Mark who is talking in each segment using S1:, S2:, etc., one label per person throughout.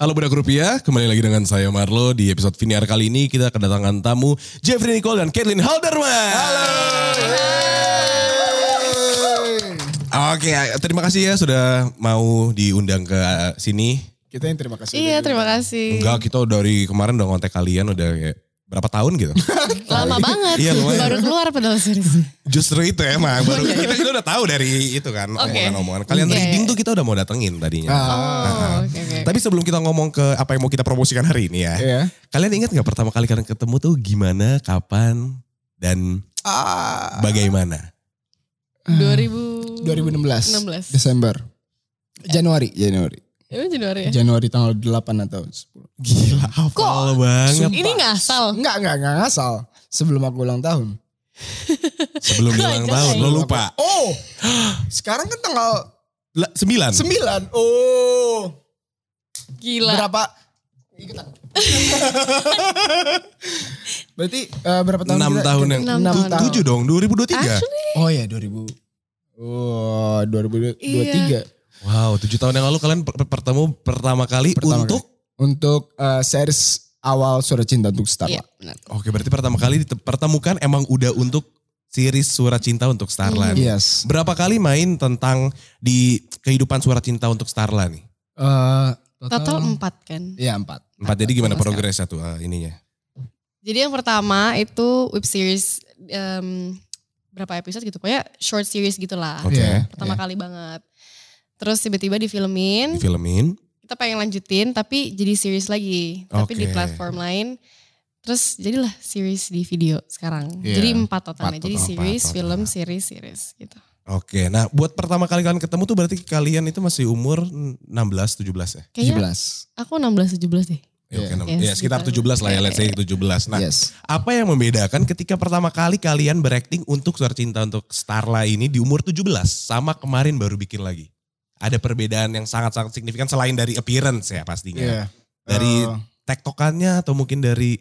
S1: Halo Budak Rupiah, kembali lagi dengan saya Marlo. Di episode Viniar kali ini kita kedatangan tamu Jeffrey Nicole dan Caitlin Halderman. Halo. Oke, terima kasih ya sudah mau diundang ke sini.
S2: Kita yang terima kasih.
S3: Iya, terima kasih.
S1: Enggak, kita dari kemarin udah kontak kalian udah kayak berapa tahun gitu.
S3: Lama banget.
S1: Iya, lumayan.
S3: Baru keluar padahal serius.
S1: Justru itu emang baru kita, kita udah tahu dari itu kan
S3: Oke.
S1: omongan-omongan. Iya. Ah. Kalian
S3: Oke.
S1: reading tuh kita udah mau datengin tadinya.
S2: Ah.
S3: Oh, oke oke.
S1: Tapi sebelum kita ngomong ke apa yang mau kita promosikan hari ini ya.
S3: Oh.
S2: Iya.
S1: Kalian ingat nggak pertama kali kalian ketemu tuh gimana, kapan, dan
S3: Ah.
S1: Ah. bagaimana?
S3: 2000
S2: 2016.
S3: 16.
S2: Desember. Januari, Januari.
S3: Ini Januari ya?
S2: Januari tanggal 8 atau 10.
S1: Gila, hafal banget.
S3: Ini ngasal.
S2: Enggak, enggak, enggak ngasal. Sebelum aku ulang tahun.
S1: Sebelum
S3: Kok
S1: ulang
S3: aja
S1: tahun,
S3: ya?
S1: lo lupa.
S2: Oh. Sekarang kan tanggal
S1: La- sembilan.
S2: 9. Oh.
S3: Gila.
S2: Berapa? Ikutan. Berarti eh, berapa tahun?
S1: Enam
S2: kita-
S1: tahun yang,
S3: Enam
S1: tu-
S3: tahun.
S1: tujuh dong, 2023.
S3: Actually,
S2: Oh ya 2000. Oh, 2023.
S3: Iya.
S1: Wow, tujuh tahun yang lalu kalian per- pertemu pertama kali
S2: Pertama
S1: untuk,
S2: Untuk eh, series awal Surat Cinta untuk Starla.
S3: iya, benar.
S1: oke berarti pertama kali dipertemukan emang udah untuk series Surat Cinta untuk
S3: Iya.
S1: Starla. nih.
S2: Yes.
S1: Berapa kali main tentang di kehidupan Surat Cinta untuk Starla nih?
S2: Eh,
S3: Total empat kan.
S2: Iya empat.
S1: Empat, jadi gimana
S3: Sama sekali.
S1: progresnya tuh eh, ininya?
S3: Jadi yang pertama itu web series em, berapa episode gitu. Pokoknya short series gitulah.
S1: Oke.
S2: Iya,
S3: Pertama
S2: iya.
S3: kali banget. Terus tiba-tiba
S1: kan
S3: difilmin.
S1: Difilmin.
S3: Kita pengen lanjutin tapi jadi series lagi. Tapi
S1: Oke.
S3: di platform lain. Terus jadilah series di video sekarang.
S2: Iya.
S3: Jadi empat totalnya.
S2: Empat
S3: Jadi
S1: total,
S3: series,
S1: empat total.
S3: film, series, series gitu.
S1: Oke, nah buat pertama kali kalian ketemu tuh berarti kalian itu masih umur 16, 17 ya?
S3: Kayaknya
S2: 17.
S3: Aku 16 17 deh.
S1: Ya, oke,
S2: Iya.
S1: enam-
S3: Yes,
S1: ya sekitar
S3: gitu.
S1: 17 lah ya, let's say 17. Nah,
S2: yes.
S1: apa yang membedakan ketika pertama kali kalian berakting untuk Suara Cinta untuk Starla ini di umur 17 sama kemarin baru bikin lagi? Ada perbedaan yang sangat-sangat signifikan selain dari appearance ya pastinya.
S2: Iya.
S1: Dari
S2: Eh,
S1: tektokannya atau mungkin dari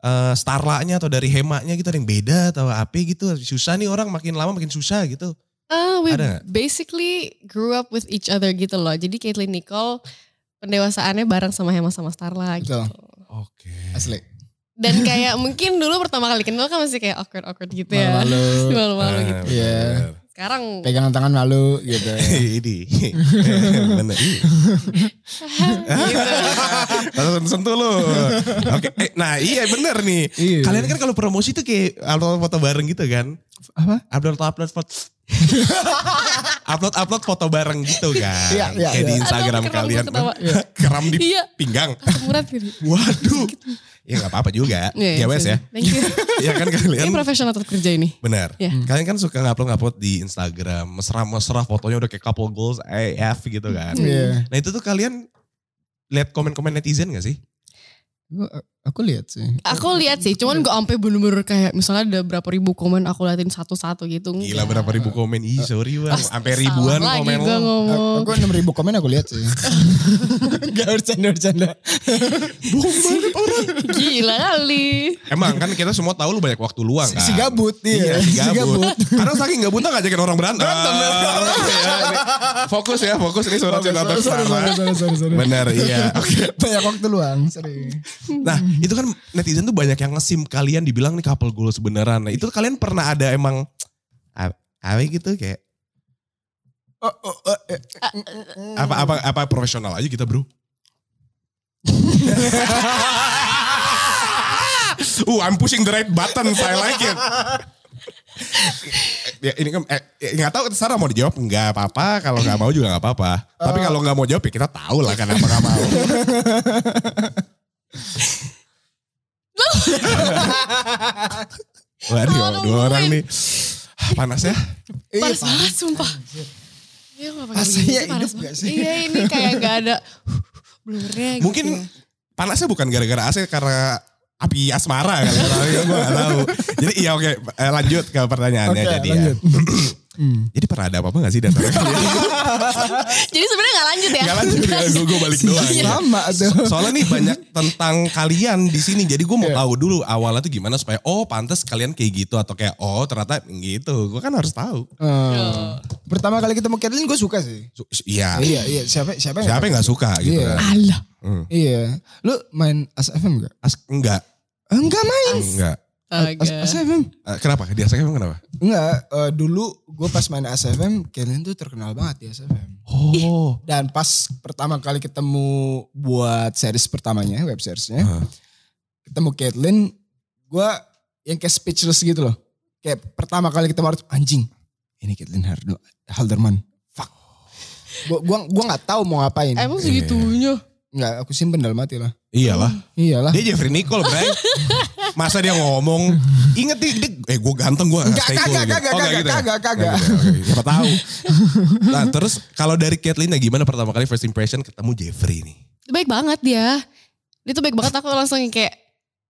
S1: eh, Starla-nya atau dari hemanya gitu ada yang beda atau apa gitu. Susah nih orang makin lama makin susah gitu.
S3: Ah, we
S1: Ada nggak?
S3: basically grew up with each other gitu loh. Jadi Caitlyn Nicole pendewasaannya bareng sama Hema sama Starla gitu.
S2: Betul.
S1: Oke.
S2: asli.
S3: Dan kayak mungkin dulu pertama kali kenal kan masih kayak awkward awkward gitu ya.
S1: Nah,
S2: Malu-malu.
S3: Malu-malu gitu.
S1: Eh.
S2: Iya.
S3: Sekarang
S2: Pegangan tangan malu gitu.
S3: Hmm.
S1: ini bener Ih.
S3: gitu.
S1: Langsung sentuh lo oke eh, nah iya bener nih
S2: Iya.
S1: kalian kan kalau promosi tuh kayak upload foto bareng gitu kan
S2: apa?
S1: upload upload foto upload upload foto bareng gitu kan
S2: Iya, iya,
S1: kayak di
S2: iya.
S1: Instagram
S3: Aduh, keram
S1: kalian
S3: gua ketawa.
S1: Iya. keram di
S3: Iya.
S1: pinggang
S3: Murad gitu.
S1: waduh ya nggak apa-apa juga ya wes ya
S3: Thank you.
S1: ya kan
S3: Iya, Ini
S1: kalian
S3: profesional tetap kerja ini.
S1: Benar.
S3: Iya.
S1: Kalian kan suka ngupload-ngupload di Instagram, mesra-mesra fotonya udah kayak couple goals AF gitu kan.
S2: Iya.
S1: Nah itu tuh kalian lihat komen-komen netizen gak sih?
S2: Gua- Aku lihat sih.
S3: Aku lihat sih, cuman gue ampe bener-bener kayak misalnya ada berapa ribu komen aku liatin satu-satu gitu.
S1: Gila
S3: Enggak.
S1: berapa ribu komen. Ih sorry bang,
S3: Pasti
S1: sampai ribuan
S3: salah
S1: komen
S3: lagi gua
S1: lo.
S3: ngomong.
S2: Aku 6 ribu komen aku lihat sih. Gak bercanda-bercanda.
S3: Gila kali.
S1: Emang kan kita semua tahu lu banyak waktu luang kan.
S2: Si gabut.
S1: Iya,
S2: Iya.
S1: si gabut. Karena saking gabutnya ngajakin orang berantem.
S2: Berantem, ya.
S1: Iya, ini. fokus ya, fokus ini surat
S2: Sorry,
S1: cinta
S2: sorry, sorry, sorry,
S1: tersalah.
S2: sorry, sorry, sorry.
S1: Benar, iya. Oke.
S2: Banyak waktu luang. Sorry.
S1: Nah itu kan netizen tuh banyak yang ngesim kalian dibilang nih couple goals beneran. Nah itu kalian pernah ada emang apa gitu kayak
S2: Oh, oh, oh, eh.
S1: apa apa apa profesional aja kita bro. uh, I'm pushing the right button, I like it. ya, ini kan eh, eh, nggak tahu Sarah mau dijawab nggak apa-apa kalau nggak mau juga nggak apa-apa tapi kalau nggak mau jawab ya kita tahu lah kenapa nggak mau Waduh, dua orang nih Ah, panas ya
S2: Iya,
S3: Panas
S2: Pak.
S3: banget sumpah. Iya gak pakai
S1: ya
S2: Rasanya
S3: begini,
S2: hidup
S3: panas
S2: gak
S3: banget.
S2: sih?
S3: Iya ini kayak gak ada huh, blurnya gitu.
S2: Iya.
S1: Mungkin panasnya bukan gara-gara AC karena api ya, asmara kali. Tapi gue gak tahu. Jadi iya oke eh, lanjut ke pertanyaannya
S2: Oke,
S1: jadi ya.
S2: lanjut. Hmm. Gitu.
S1: Jadi pernah ada apa-apa gak sih di antara kalian?
S3: Jadi sebenarnya nggak lanjut ya. Iya.
S1: Gak lanjut ya, gue gue balik doang. ya.
S2: Sama tuh.
S1: Soalnya nih banyak tentang kalian di sini. Jadi gue
S2: Iya.
S1: mau tahu dulu awalnya tuh gimana supaya oh pantas kalian kayak gitu atau kayak oh ternyata gitu. Gue kan harus tahu.
S2: Eh, Pertama kali ketemu Kathleen gue suka sih.
S1: Su- su- Iya.
S2: Iya, iya. Siapa siapa yang-
S1: Siapa yang gak suka gitu
S2: Iya.
S1: kan?
S3: Allah.
S1: Hmm.
S2: Iya. Lu main ASFM gak?
S1: As- enggak,
S2: Enggak main.
S1: enggak.
S2: eh, As- ASFM.
S1: Eh, Kenapa? Di ASFM emang kenapa?
S2: Enggak, eh, dulu gue pas main ASFM, Kathleen tuh terkenal banget di ASFM.
S1: Oh.
S2: Dan pas pertama kali ketemu buat series pertamanya, web seriesnya.
S1: Heeh.
S2: Ketemu Caitlyn, gue yang kayak speechless gitu loh. Kayak pertama kali ketemu Arthur, anjing. Ini Caitlyn Hardo, Halderman. Fuck. Gue gua, gua gak tahu mau ngapain.
S3: Emang segitunya.
S2: Enggak, aku simpen dalam hati lah.
S1: Iyalah.
S2: Iyalah.
S1: Dia Jeffrey Nicole, Bray. Masa dia ngomong, inget nih, dia- eh gue ganteng gue.
S2: Enggak, kagak, kagak,
S1: Oh,
S2: kagak,
S1: gitu ya?
S2: kagak, kagak.
S1: Siapa tahu. Nah terus kalau dari Kathleen ya gimana pertama kali first impression ketemu Jeffrey nih?
S3: Baik banget dia. Dia tuh baik banget aku langsung yang kayak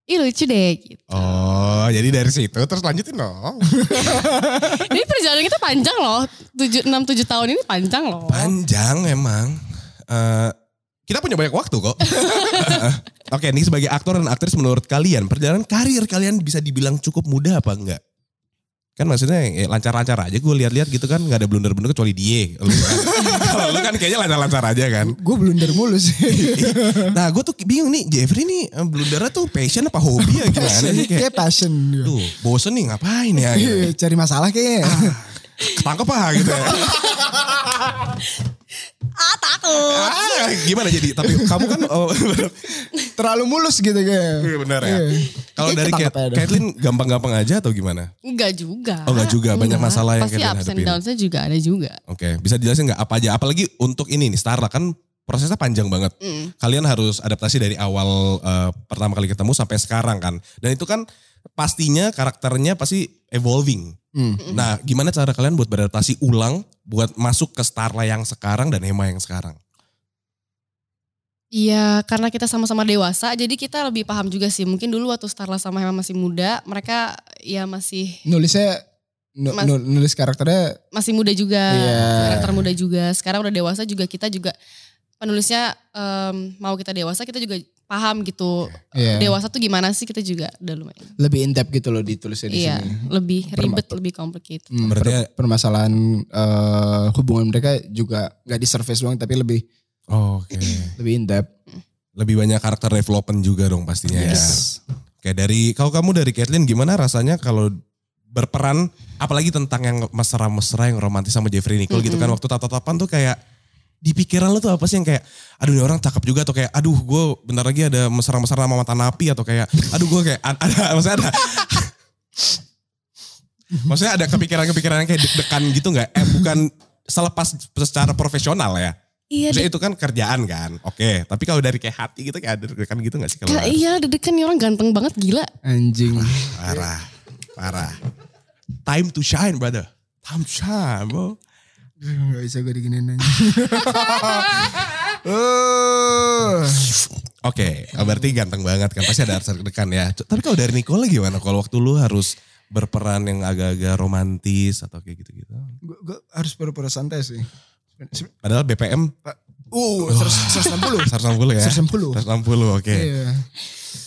S3: Ih lucu deh gitu.
S1: Oh jadi dari situ terus lanjutin dong.
S3: Ini perjalanan kita panjang loh. 7, 6, 7 tahun ini panjang loh.
S1: Panjang emang. Eh, kita punya banyak waktu kok. Oke nih sebagai aktor dan aktris menurut kalian perjalanan karir kalian bisa dibilang cukup mudah apa enggak? Kan maksudnya eh, lancar-lancar aja gue lihat-lihat gitu kan nggak ada blunder-blunder kecuali dia. Lu kan. Kalau lu kan kayaknya lancar-lancar aja kan.
S2: Gue blunder mulu sih.
S1: Nah gue tuh bingung nih Jeffrey nih eh, blundernya tuh passion apa hobi ya gimana sih kayak.
S2: kayak passion. dia.
S1: Duh bosen nih ngapain ya gitu.
S2: kan? Iya, Cari masalah kayaknya.
S1: Ketangkep ah gitu ya.
S3: Ah takut.
S1: Ah, gimana jadi? Tapi kamu kan oh,
S2: Terlalu mulus gitu
S1: Iya
S2: kayak.
S1: benar ya.
S2: Iya.
S1: Kalau dari
S2: Ketangkep
S1: Kat-
S2: aja dong.
S1: Caitlyn gampang-gampang aja atau gimana?
S3: Enggak juga. Iya.
S1: Oh, enggak juga. Banyak masalah yang
S3: Pasti
S1: kalian
S3: ups and
S1: hadapin.
S3: downs-nya juga ada juga.
S1: Oke, bisa dijelasin nggak apa aja? Apalagi untuk ini nih Starla kan prosesnya panjang banget.
S3: Mm.
S1: Kalian harus adaptasi dari awal eh, pertama kali ketemu sampai sekarang kan. Dan itu kan pastinya karakternya pasti evolving.
S2: Hmm.
S3: Mm.
S1: Nah, gimana cara kalian buat beradaptasi ulang buat masuk ke Starla yang sekarang dan Hema yang sekarang?
S3: Iya, karena kita sama-sama dewasa, jadi kita lebih paham juga sih. Mungkin dulu waktu Starla sama Hema masih muda, mereka ya masih
S2: nulisnya nu-
S3: Mas-
S2: nu- nulis karakternya
S3: masih muda juga,
S2: Iya.
S3: karakter muda juga. Sekarang udah dewasa juga kita juga penulisnya em, mau kita dewasa, kita juga paham gitu.
S2: ya,
S1: Iya.
S3: Dewasa tuh gimana sih kita juga udah lumayan.
S2: lebih in depth gitu loh ditulisnya di
S3: Iya,
S2: sini.
S3: lebih
S2: Perma-
S3: ribet, lebih gitu. complicated.
S2: Hmm,
S1: Berarti
S2: per- permasalahan eh, hubungan mereka juga nggak di surface doang tapi lebih
S1: Oke.
S2: lebih in depth.
S1: Lebih banyak karakter development juga dong pastinya ya. Kayak dari kalau kamu dari Caitlyn gimana rasanya kalau berperan apalagi tentang yang mesra-mesra yang romantis sama Jeffrey Nicole gitu kan waktu tatap-tatapan tuh kayak di pikiran lu tuh apa sih yang kayak aduh ini orang cakep juga atau kayak aduh gue bentar lagi ada mesra-mesra sama mata napi atau kayak aduh gue kayak ad- ada maksudnya ada maksudnya ada kepikiran-kepikiran yang kayak deg-degan gitu nggak eh bukan selepas secara profesional ya
S3: Iya,
S1: maksudnya itu kan kerjaan kan oke tapi kalau dari kayak hati gitu kayak ada deg-degan gitu nggak sih kalau
S3: deg- iya deg-degan nih orang ganteng banget gila.
S2: Anjing.
S1: Parah, parah. Time to shine, brother. Time to shine, bro.
S2: Gak bisa gue diginiin anjing. Eh,
S1: Oke, oh, berarti ganteng banget kan. Pasti ada rasa deg-degan ya. C- Tapi kalau dari Nicole gimana? Kalau waktu lu harus berperan yang agak-agak romantis atau kayak gitu-gitu.
S2: gua- gua harus pura-pura santai sih. Se-
S1: Padahal BPM
S2: Uh, 160.
S1: 160 ya?
S2: 160.
S1: 160, oke.
S2: Iya.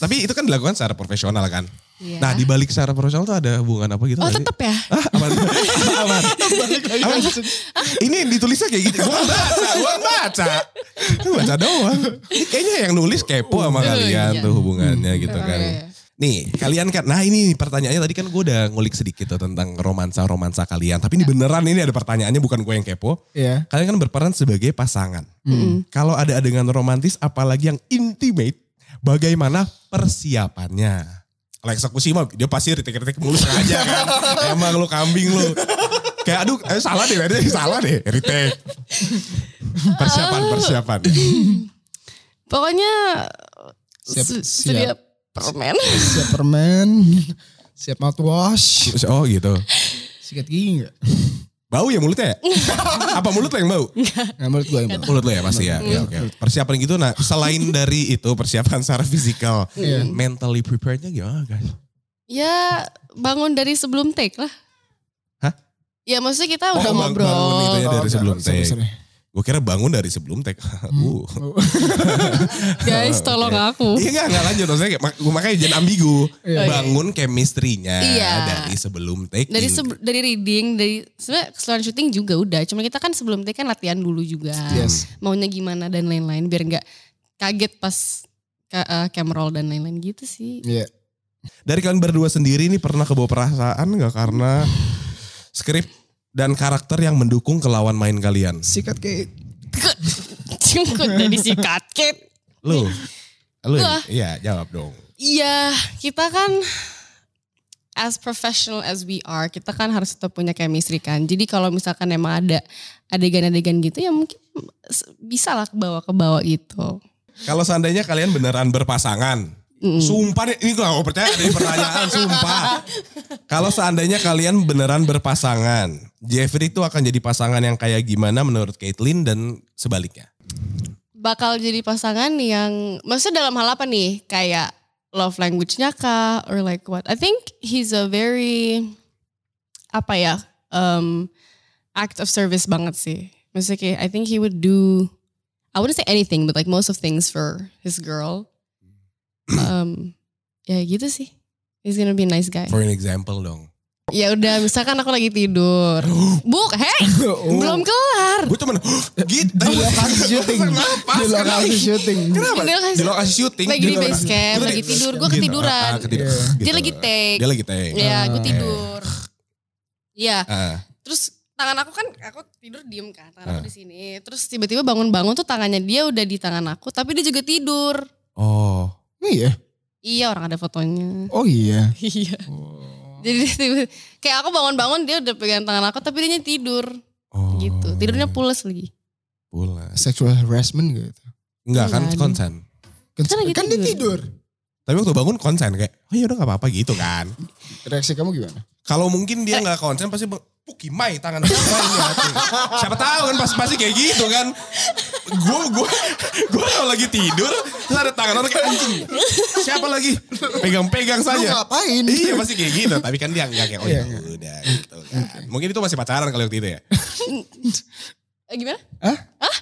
S1: Tapi itu kan dilakukan secara profesional kan?
S3: Iya.
S1: Nah, di balik secara profesional tuh ada hubungan apa gitu?
S3: Oh
S1: nggak sih?
S3: tetep ya?
S1: Hah, apa? apa? Apa? Ini yang ditulisnya kayak gitu. Gua baca, gua baca. Gua baca doang. Ini kayaknya yang nulis kepo sama
S3: Iya.
S1: kalian tuh hubungannya gitu
S3: Iya,
S1: kan.
S3: iya.
S1: Nih, kalian kan. Nah, ini nih pertanyaannya tadi kan gue udah ngulik sedikit tuh tentang romansa-romansa kalian. Tapi
S3: Iya.
S1: ini beneran ini ada pertanyaannya bukan gue yang kepo.
S2: Iya.
S1: Kalian kan berperan sebagai pasangan.
S3: Mm-mm.
S1: Kalau ada adegan romantis apalagi yang intimate, bagaimana persiapannya? Kalau eksekusi mah dia pasti ritik-ritik mulu sengaja kan. Emang lu kambing lu. Kayak aduh eh, salah deh, tadi salah deh, ritik. Persiapan, persiapan.
S3: Pokoknya
S2: Siap-
S3: se-
S2: siap.
S3: sedia permen.
S2: Siap permen, siap mouthwash,
S1: Oh gitu.
S2: sikat gigi enggak?
S1: Bau ya mulutnya ya? Apa mulut lo yang bau?
S2: Nah, menurut gue emang.
S1: Mulut lo ya pasti ya. ya oke. Persiapan gitu nah selain dari itu persiapan secara fisikal,
S2: Iya.
S1: mentally preparednya gimana guys?
S3: Ya bangun dari sebelum take lah.
S1: Hah?
S3: Ya maksudnya kita
S1: Oh,
S3: udah
S1: emang
S3: ngobrol.
S1: bangun itu ya dari
S2: enggak,
S1: sebelum
S2: Oh, sorry,
S1: take.
S2: sorry.
S1: Gue kira bangun dari sebelum tag. uh.
S3: Guys
S1: Oke.
S3: tolong aku.
S1: Iya enggak, enggak lanjut. Maksudnya kayak, mak- makanya jangan ambigu.
S3: Iya.
S1: Bangun chemistry-nya
S3: Iya.
S1: dari sebelum taking.
S3: Dari seb- dari reading, dari sebenarnya keseluruhan syuting juga udah. Cuma kita kan sebelum take kan latihan dulu juga.
S1: Iya.
S2: Yes.
S3: Maunya gimana dan lain-lain biar nggak kaget pas ka- eh, cam roll dan lain-lain gitu sih.
S2: Iya.
S1: Dari kalian berdua sendiri nih pernah kebawa perasaan nggak karena skrip dan karakter yang mendukung kelawan main kalian?
S2: Sikat kayak
S3: Cungkut dari si kaget.
S1: Lu? Lu?
S3: Gua.
S1: Iya, jawab dong.
S3: Iya, kita kan as professional as we are, kita kan harus tetap punya chemistry kan. Jadi kalau misalkan emang ada adegan-adegan gitu ya mungkin s- bisa lah kebawa-kebawa gitu.
S1: Kalau seandainya kalian beneran berpasangan,
S3: Mm.
S1: sumpah deh, ini gue gak mau percaya dari pertanyaan, sumpah. Kalau seandainya kalian beneran berpasangan, Jeffrey itu akan jadi pasangan yang kayak gimana menurut Caitlin dan sebaliknya?
S3: bakal jadi pasangan yang maksudnya dalam hal apa nih kayak love language-nya kah or like what I think he's a very apa ya um, act of service banget sih maksudnya kayak I think he would do I wouldn't say anything but like most of things for his girl um, ya gitu sih he's gonna be a nice guy
S1: For an example dong.
S3: ya udah misalkan aku lagi tidur buk hey
S1: Oh.
S3: belum kelar
S1: Gue cuman gitu.
S2: Di lokasi syuting.
S1: Kenapa?
S2: di lokasi syuting.
S1: Kenapa?
S3: Di lokasi-
S1: Di lokasi syuting.
S3: Lagi di
S1: Gitu.
S3: base camp,
S1: Gua
S3: lagi
S1: tadi-
S3: tidur, gua
S1: gitu.
S3: ketiduran.
S1: Ah, ah, ketidur.
S2: Iya.
S1: Gitu.
S3: dia lagi take
S1: Dia lagi take.
S3: ya gue
S2: Ah.
S3: tidur ya
S1: Ah,
S3: terus tangan aku kan aku tidur diem kan tangan
S1: Ah.
S3: aku di sini terus tiba-tiba bangun-bangun tuh tangannya dia udah di tangan aku tapi dia juga tidur
S1: Oh.
S2: Iya.
S3: iya orang ada fotonya
S2: Oh iya. Oh,
S3: iya jadi dia tiba- kayak aku bangun-bangun dia udah pegang tangan aku tapi dia tidur
S1: Oh.
S3: gitu tidurnya pules lagi
S1: pulas.
S2: Sexual harassment gitu.
S1: Enggak kan
S3: Enggak ada.
S1: konsen.
S2: Kan,
S3: Kan lagi
S2: kan dia tidur.
S3: tidur.
S1: Tapi waktu bangun konsen kayak, oh ya udah gak apa-apa gitu kan.
S2: Reaksi kamu gimana?
S1: Kalau mungkin
S2: Eh.
S1: dia nggak konsen pasti bang, pukimai tangan siapa ini hati?" Siapa tahu kan pasti pasti kayak gitu kan. Gue gue gue kalau lagi tidur terus ada tangan orang kayak anjing. Siapa lagi? Pegang-pegang
S2: Lu
S1: saja.
S2: ngapain?
S1: Iya pasti kayak gitu, tapi kan dia nggak kayak oh ya
S2: Iya, iya.
S1: udah gitu kan. Mungkin itu masih pacaran kalau waktu itu ya.
S3: Eh, gimana
S2: Ah,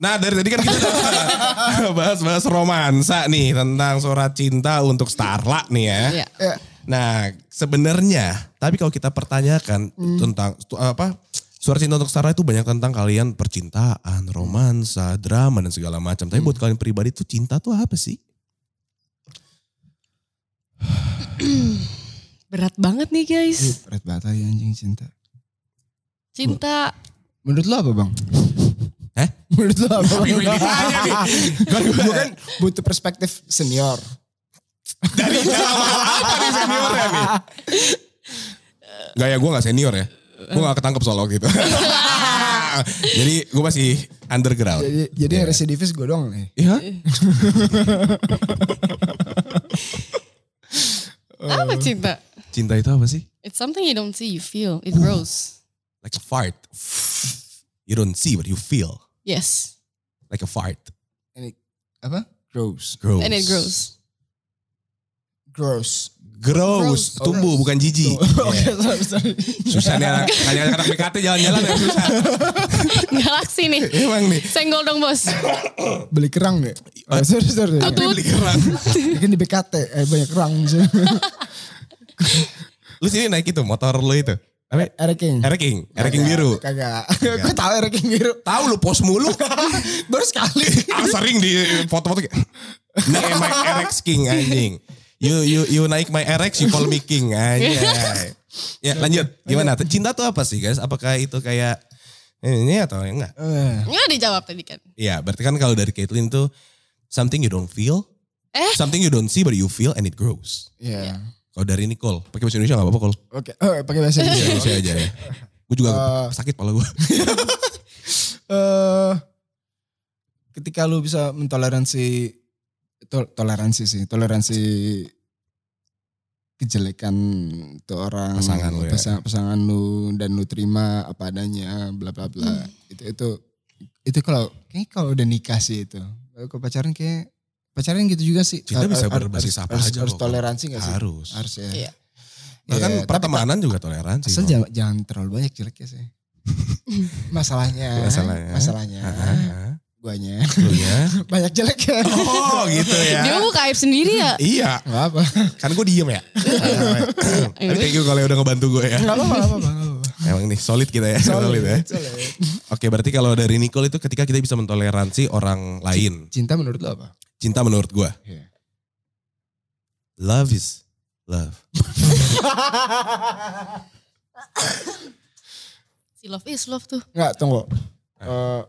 S1: Nah dari tadi kan kita udah bahas-bahas romansa nih tentang surat cinta untuk Starla nih ya.
S3: Iya.
S2: ya.
S1: Nah sebenarnya, tapi kalau kita pertanyakan
S2: mm.
S1: tentang tu- apa surat cinta untuk Starla itu banyak tentang kalian percintaan, romansa, drama dan segala macam. Tapi buat kalian pribadi tuh cinta tuh apa sih?
S3: berat banget nih
S2: Ih,
S3: guys
S2: berat banget ya anjing cinta.
S3: cinta
S2: Menurut lo apa bang?
S1: Hah?
S2: Menurut lo apa bang?
S1: Bingung ditanya nih.
S2: Gue kan butuh perspektif senior.
S1: Dari dalam hal apa nih senior ya nih? Gak ya gue gak senior ya. Gue gak ketangkep soal waktu itu. Jadi gue masih underground.
S2: Jadi, jadi yang residivis gue doang nih.
S1: Iya.
S3: apa cinta
S1: Cinta itu apa sih?
S3: it's something you don't see you feel it grows
S1: Like a fart. You don't see what you feel.
S3: yes
S1: Like a fart.
S2: Ini apa? Gross.
S1: Grows.
S3: and it grows
S2: Gross.
S1: Grows.
S2: Grows.
S1: Tumbuh
S2: Grows.
S1: bukan jijik.
S2: Oke,
S1: Iya.
S2: sorry, sorry.
S1: Susah nih anak. Anak-anak BKT jalan-jalan yang susah.
S3: galaksi nih
S1: Emang nih.
S3: senggol dong bos
S2: Beli kerang gak? Oh, sorry, sorry.
S1: Ini beli kerang.
S2: Mungkin di BKT, eh, banyak kerang.
S1: Lu sini naik itu motor lu itu. Apa?
S2: Eric King.
S1: Erking. Erking biru.
S2: Kagak. Gue tau Eric King biru.
S1: Tahu lu pos mulu.
S2: Baru sekali.
S1: Ah, sering di foto-foto kayak ini my RX King anjing. You you you naik my RX you call me King anjing. Ya lanjut gimana? Cinta tuh apa sih guys? Apakah itu kayak ini atau enggak?
S2: Eh,
S3: nggak dijawab tadi kan
S1: Iya berarti kan kalau dari Caitlyn tuh something you don't feel,
S3: Eh?
S1: something you don't see but you feel and it grows.
S2: Iya.
S1: Kalau dari Nicole pakai bahasa Indonesia nggak apa-apa Cole.
S2: Oke, eh, pakai bahasa
S1: Bahasa
S2: Indonesia.
S1: Indonesia aja ya. Gue juga
S2: Eh.
S1: sakit pala gue.
S2: eh ketika lu bisa mentoleransi to- toleransi sih toleransi kejelekan tuh orang
S1: Pasangan lu ya.
S2: pasang- pasangan lu dan lu terima apa adanya bla bla bla itu itu itu kalau kayaknya kalau udah nikah sih itu kalau ke pacaran kayak pacaran gitu juga sih
S1: Cinta
S2: Har-
S1: bisa
S2: har-
S1: berbasis
S2: harus-
S1: apa
S2: harus,
S1: aja
S2: harus
S1: kok.
S2: toleransi gak sih
S1: Harus.
S2: harus ya
S3: Iya.
S1: Bahkan
S2: Iya, tapi
S1: pertemanan juga toleransi.
S2: Asal
S1: Bang.
S2: jangan, jangan terlalu banyak jeleknya sih. masalahnya,
S1: Masalahnya.
S2: masalahnya,
S1: Ah,
S2: guanya
S1: lu ya.
S2: banyak jeleknya.
S1: Oh gitu
S3: Dia
S1: ya.
S3: buka aib sendiri ya.
S1: Iya,
S2: Gak apa,
S1: kan gue diem ya. Tapi thank you kalau udah ngebantu gue ya.
S2: gak apa, gak apa, gak apa.
S1: Emang nih solid kita ya. Solid, ya.
S2: Iya. solid.
S1: Oke berarti kalau dari Nicole itu ketika kita bisa mentoleransi orang lain.
S2: Cinta menurut lo apa?
S1: Cinta menurut gue.
S2: Iya.
S1: Love is love.
S3: Si love is love tuh.
S2: Enggak, tunggu. Eh,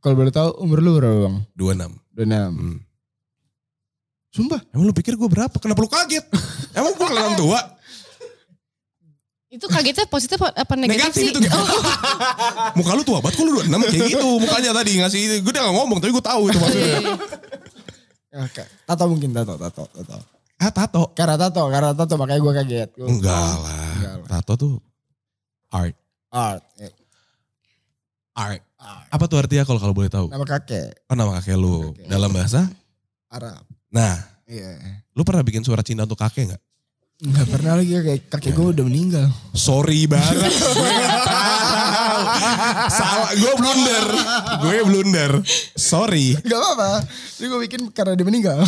S2: kalau boleh tahu umur lu berapa bang?
S1: 26.
S2: 26.
S1: Hmm.
S2: Sumpah?
S1: Emang lu pikir gue berapa? Kenapa lu kaget? Emang gue kelihatan tua?
S3: Itu kagetnya positif apa negatif,
S1: Negatif
S3: sih? Oh.
S1: itu. gitu. Muka lu tua banget, kok lu 26 kayak gitu. Mukanya tadi ngasih, gue udah gak ngomong tapi gue tahu itu maksudnya.
S3: Iya, iya.
S2: Oke. Ya, Tato mungkin tato, tato, tato.
S3: Iya.
S1: ah tato.
S2: Karena tato, karena tato makanya gue kaget. Gua-
S1: Enggak lah.
S2: Enggak lah.
S1: Tato tuh art.
S2: Art. Eh,
S1: Art.
S2: art.
S1: Apa tuh artinya kalau kalau boleh tahu?
S2: Nama kakek
S1: Kan nama kakek lu
S2: Kakek.
S1: dalam bahasa.
S2: Arab.
S1: Nah,
S2: Iya.
S1: lu pernah bikin surat cinta untuk kakek nggak?
S2: Enggak pernah lagi kakek, kakek gue udah meninggal.
S1: Sorry banget. Gue nggak tahu. Salah, gue blunder. Gue blunder. Sorry.
S2: Gak apa-apa. Jadi gue bikin karena dia meninggal.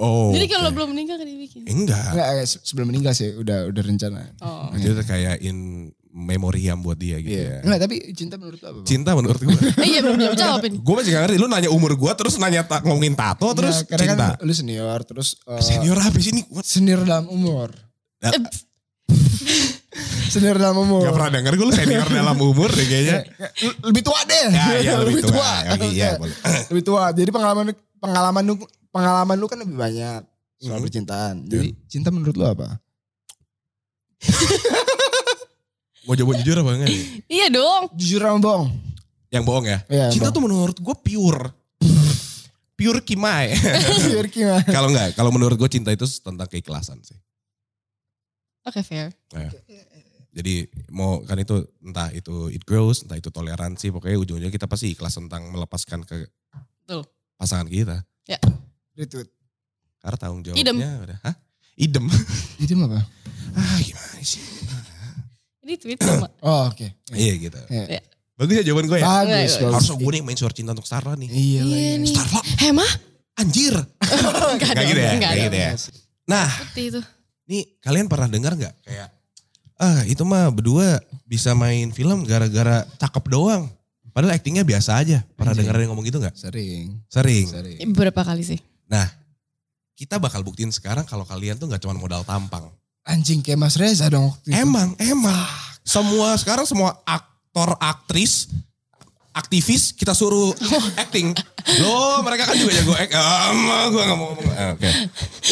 S1: Oh.
S3: Jadi kalau
S1: oke.
S3: belum meninggal kan dibikin.
S1: Enggak.
S2: Enggak, eh, se- sebelum meninggal sih udah udah rencana.
S3: Oh.
S1: Itu kayak in memoriam buat dia gitu ya.
S2: Iya. Enggak, tapi cinta menurut lo apa? Bang?
S1: Cinta menurut gue.
S3: Eh, iya belum belum jawab ini.
S1: gue masih gak ngerti. Lu nanya umur gue terus nanya ta- ngomongin tato Oh, terus
S2: Nah, karena
S1: cinta.
S2: kan lu senior terus eh,
S1: Senior habis ini. Gua
S2: senior dalam umur.
S1: Eh,
S2: senior dalam umur.
S1: Gak pernah denger gue lu senior dalam umur deh kayaknya.
S2: L- lebih tua deh.
S1: Ya, ya lebih tua. Oke, iya,
S2: Oke.
S1: boleh.
S2: lebih tua. Jadi pengalaman pengalaman lu pengalaman lu kan lebih banyak soal
S1: Hmm.
S2: percintaan. Jadi cinta menurut lu apa?
S1: Mau jawaban jujur apa enggak? nih?
S3: Iya dong.
S2: Jujur sama bohong.
S1: Yang bohong ya.
S2: Iya,
S1: Cinta tuh menurut gue pure. pure kimai.
S2: Jujur gimana?
S1: kalau enggak, kalau menurut gue cinta itu tentang keikhlasan sih.
S3: Oke fair.
S1: Jadi mau kan itu entah itu it grows, entah itu toleransi, pokoknya ujung-ujungnya kita pasti ikhlas tentang melepaskan ke
S3: Betul.
S1: pasangan kita.
S2: Retweet.
S1: Karena tanggung jawabnya udah. Hah? Idem.
S2: Itu apa?
S1: ah gimana sih?
S3: Ini tweet sama.
S2: Oh, oke.
S1: Iya gitu.
S2: Iya.
S1: Bagus ya jawaban gue ya?
S2: Bagus,
S3: Iya,
S2: bagus.
S1: Harusnya gue nih yang main suara cinta untuk Starla nih.
S2: Iya,
S3: Iya
S2: iya.
S3: nih.
S1: Starla,
S3: Hema?
S1: anjir.
S3: Enggak
S1: Gak gitu ya?
S3: Enggak
S1: Gak
S3: dong.
S1: gitu ya? Nah,
S3: Seperti itu.
S1: Nih kalian pernah dengar nggak kayak ah itu mah berdua bisa main film gara-gara cakep doang. Padahal aktingnya biasa aja. Pernah
S2: Anjing.
S1: dengar ada yang ngomong gitu nggak?
S2: Sering.
S1: Sering.
S2: Sering.
S3: Beberapa kali sih.
S1: Kita bakal buktiin sekarang kalau kalian tuh nggak cuma modal tampang.
S2: Anjing kayak Mas Reza dong. waktu itu.
S1: Emang, emang. Semua sekarang semua aktor, aktris, aktivis kita suruh acting. Loh mereka kan juga jago act. Ah, gue nggak mau ngomong. Ah, Oke.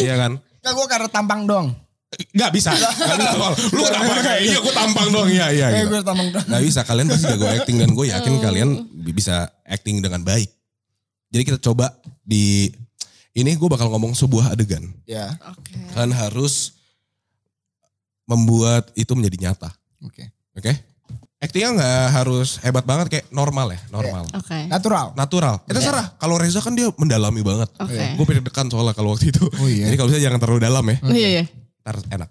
S1: Iya kan?
S2: Enggak, gue karena tampang dong.
S1: Gak bisa. Nggak bisa. Lu tampang kayak iya gue tampang doang. Iya, iya.
S2: Eh,
S1: gitu.
S2: gue tampang dong.
S1: Nah bisa kalian pasti jago acting dan gue yakin kalian bi- bisa acting dengan baik. Jadi kita coba di ini gue bakal ngomong sebuah adegan.
S2: Ya,
S3: Oke.
S1: Kalian harus membuat itu menjadi nyata,
S2: oke.
S1: oke? Actingnya nggak harus hebat banget kayak normal ya, normal,
S3: Oke.
S2: Natural.
S1: natural. Itu
S2: Iya.
S1: serah. Kalau Reza kan dia mendalami banget.
S3: Oke.
S1: Gue pikir dekan soalnya kalau waktu itu.
S2: Oh iya.
S1: Jadi kalau bisa jangan terlalu dalam ya.
S3: Oh, Iya iya.
S1: Ntar enak.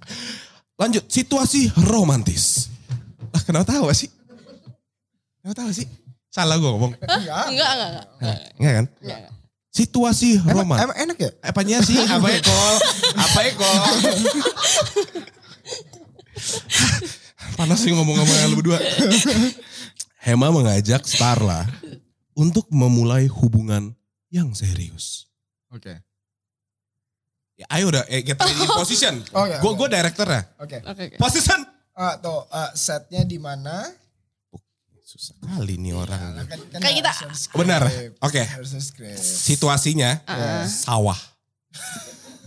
S1: Lanjut, situasi romantis. Lah kenapa tahu sih? Kenapa tahu sih? Salah gue ngomong.
S3: Enggak enggak enggak.
S1: Enggak kan?
S3: Enggak, enggak.
S1: Situasi
S2: Emang,
S1: romantis.
S2: emang enak ya?
S1: Apanya sih? Apa ya kol? Apa ya kol? Panas sih ngomong sama lu berdua. Hema mengajak Starla untuk memulai hubungan yang serius.
S2: Oke.
S1: Ya, ayo udah, eh, get in position.
S2: Oh, iya,
S1: Gue gue direkturnya.
S2: Oke.
S3: Oke. oke.
S1: ya. Position.
S2: Ah, tuh ah, setnya di mana?
S1: Susah kali nih orang.
S2: Kan- kan
S3: Kayak kita.
S2: harus ada script.
S1: Benar. Oke.
S2: Harus ada script.
S1: Situasinya
S2: Iya.
S3: Ah.
S1: sawah.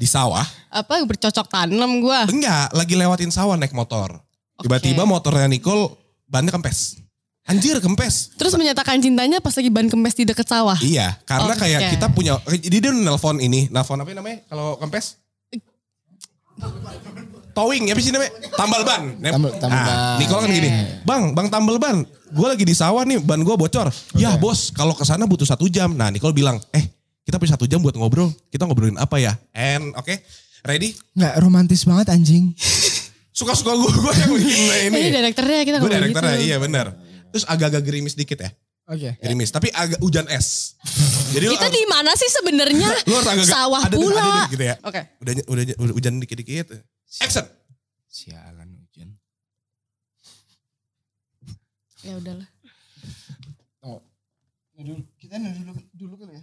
S1: Di sawah.
S3: Apa bercocok tanam gua?
S1: Enggak, lagi lewatin sawah naik motor.
S3: Oke.
S1: Tiba-tiba motornya Nicole bannya kempes. Anjir kempes.
S3: Terus menyatakan cintanya pas lagi ban kempes di deket sawah.
S1: Iya, karena
S3: Oke.
S1: kayak kita punya, jadi dia nelfon ini, nelfon apa namanya kalau kempes? Towing, ya apa sih namanya? Tambal ban.
S2: Tambal- tambal ban.
S1: Nicole kan gini, bang, bang tambal ban. Gue lagi di sawah nih, ban gue bocor. Ya bos, kalau ke sana butuh satu jam. Nah Nicole bilang, eh kita punya satu jam buat ngobrol. Kita ngobrolin apa ya? And, oke, ready?
S2: Nggak romantis banget anjing.
S1: Suka-suka gue, gue yang bikin ini.
S3: Ini direkturnya kita
S1: Gue
S3: ngomong
S1: iya, direkturnya,
S3: gitu. Iya.
S1: iya benar. Terus agak-agak gerimis dikit ya.
S2: Oke.
S1: Gerimis, tapi agak hujan es. Jadi lu
S3: Kita
S1: harus-
S3: di mana sih sebenarnya?
S1: lu harus agak
S3: Sawah
S1: ada,
S3: pula.
S1: Ada, ada gitu ya.
S3: Oke.
S1: Udah, udah, udah hujan dikit-dikit. Action.
S2: Sialan hujan.
S3: Ya udahlah.
S2: Dulu, kita dulu dulu kali ya.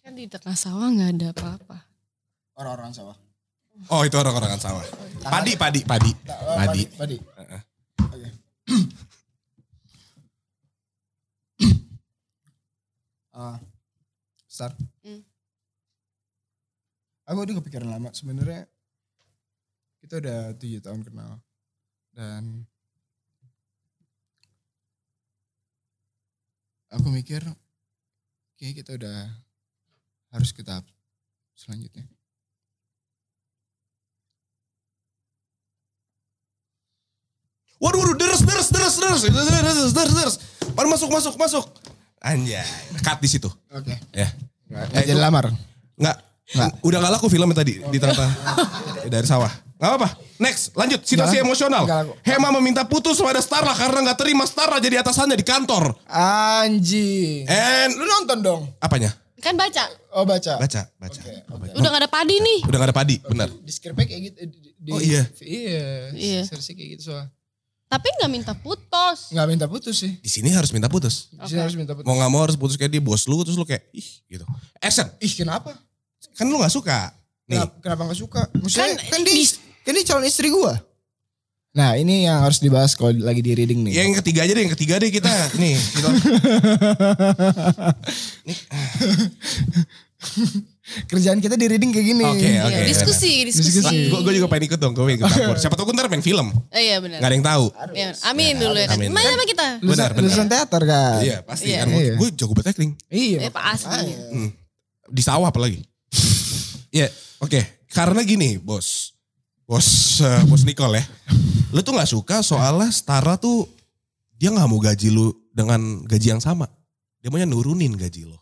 S3: Kan di tengah sawah nggak ada apa-apa.
S2: Orang-orang sawah.
S1: Oh itu orang-orangan sawah. Padi, padi, padi. Padi.
S2: Padi. Oke. Ah, Star.
S3: Hmm.
S2: Aku udah kepikiran lama sebenarnya kita udah tujuh tahun kenal dan aku mikir kayak kita udah harus ke tahap selanjutnya.
S1: Waduh, waduh, deres, deres, deres, deres, deres, deres, deres, deres. Baru masuk, masuk, masuk. Anjay, cut di situ.
S2: Oke.
S1: Ya.
S2: Eh, jadi lamar.
S1: Nggak,
S2: Nggak.
S1: udah nggak laku filmnya tadi di tengah dari sawah. Nggak apa-apa. Next, lanjut. Situasi
S2: Nggak laku.
S1: emosional.
S2: Nggak laku.
S1: Hema meminta putus pada Starla karena nggak terima Starla jadi atasannya di kantor.
S2: Anjing.
S1: And
S2: Lu nonton dong.
S1: apanya?
S3: Kan baca.
S2: Oh baca.
S1: Baca, baca.
S2: Oke,
S1: Oh, baca.
S3: Udah nggak ada padi nih.
S1: Udah nggak ada padi, benar.
S2: Di skripnya kayak gitu. eh, di- di-
S1: Oh, iya.
S2: Iya.
S3: Iya.
S2: Seharusnya kayak gitu soalnya.
S3: Tapi nggak minta putus.
S2: Nggak minta putus sih.
S1: Di sini harus minta putus.
S2: Di sini
S3: Oke.
S2: harus minta putus.
S1: Mau nggak mau harus putus kayak dia bos lu, terus lu kayak ih gitu. Action,
S2: Ih kenapa?
S1: kan lu nggak suka. Nih,
S2: Kenapa, kenapa gak suka? Maksudnya
S3: Kan-
S2: kan, di, kan dia calon istri gua. Nah ini yang harus dibahas kalau lagi di reading nih.
S1: yang ketiga aja deh, yang ketiga deh kita. Nih, gitu. kita.
S2: Kerjaan kita di reading kayak gini.
S1: Oke, oke.
S3: Iya, diskusi, diskusi.
S2: Diskusi.
S1: Gue juga pengen ikut dong, gue pengen ikut campur. Siapa tau gue ntar main film,
S3: Eh, iya
S1: nggak
S3: benar.
S1: ada yang tahu.
S3: Ya, amin dulu ya kan.
S1: Amin.
S3: Main sama kita.
S1: Benar,
S2: Lulusan,
S1: benar.
S2: lulusan teater kan.
S1: Iya pasti
S3: Iya.
S1: kan. Gue
S2: Iya.
S1: gue jago buat acting.
S2: Iya.
S3: Eh, pasti.
S1: Hmm. Di sawah apalagi. Iya oke. Karena gini bos. Bos eh, bos Nicole ya. Lu tuh gak suka soalnya Stara tuh dia gak mau gaji lu dengan gaji yang sama. Dia maunya nurunin gaji lo.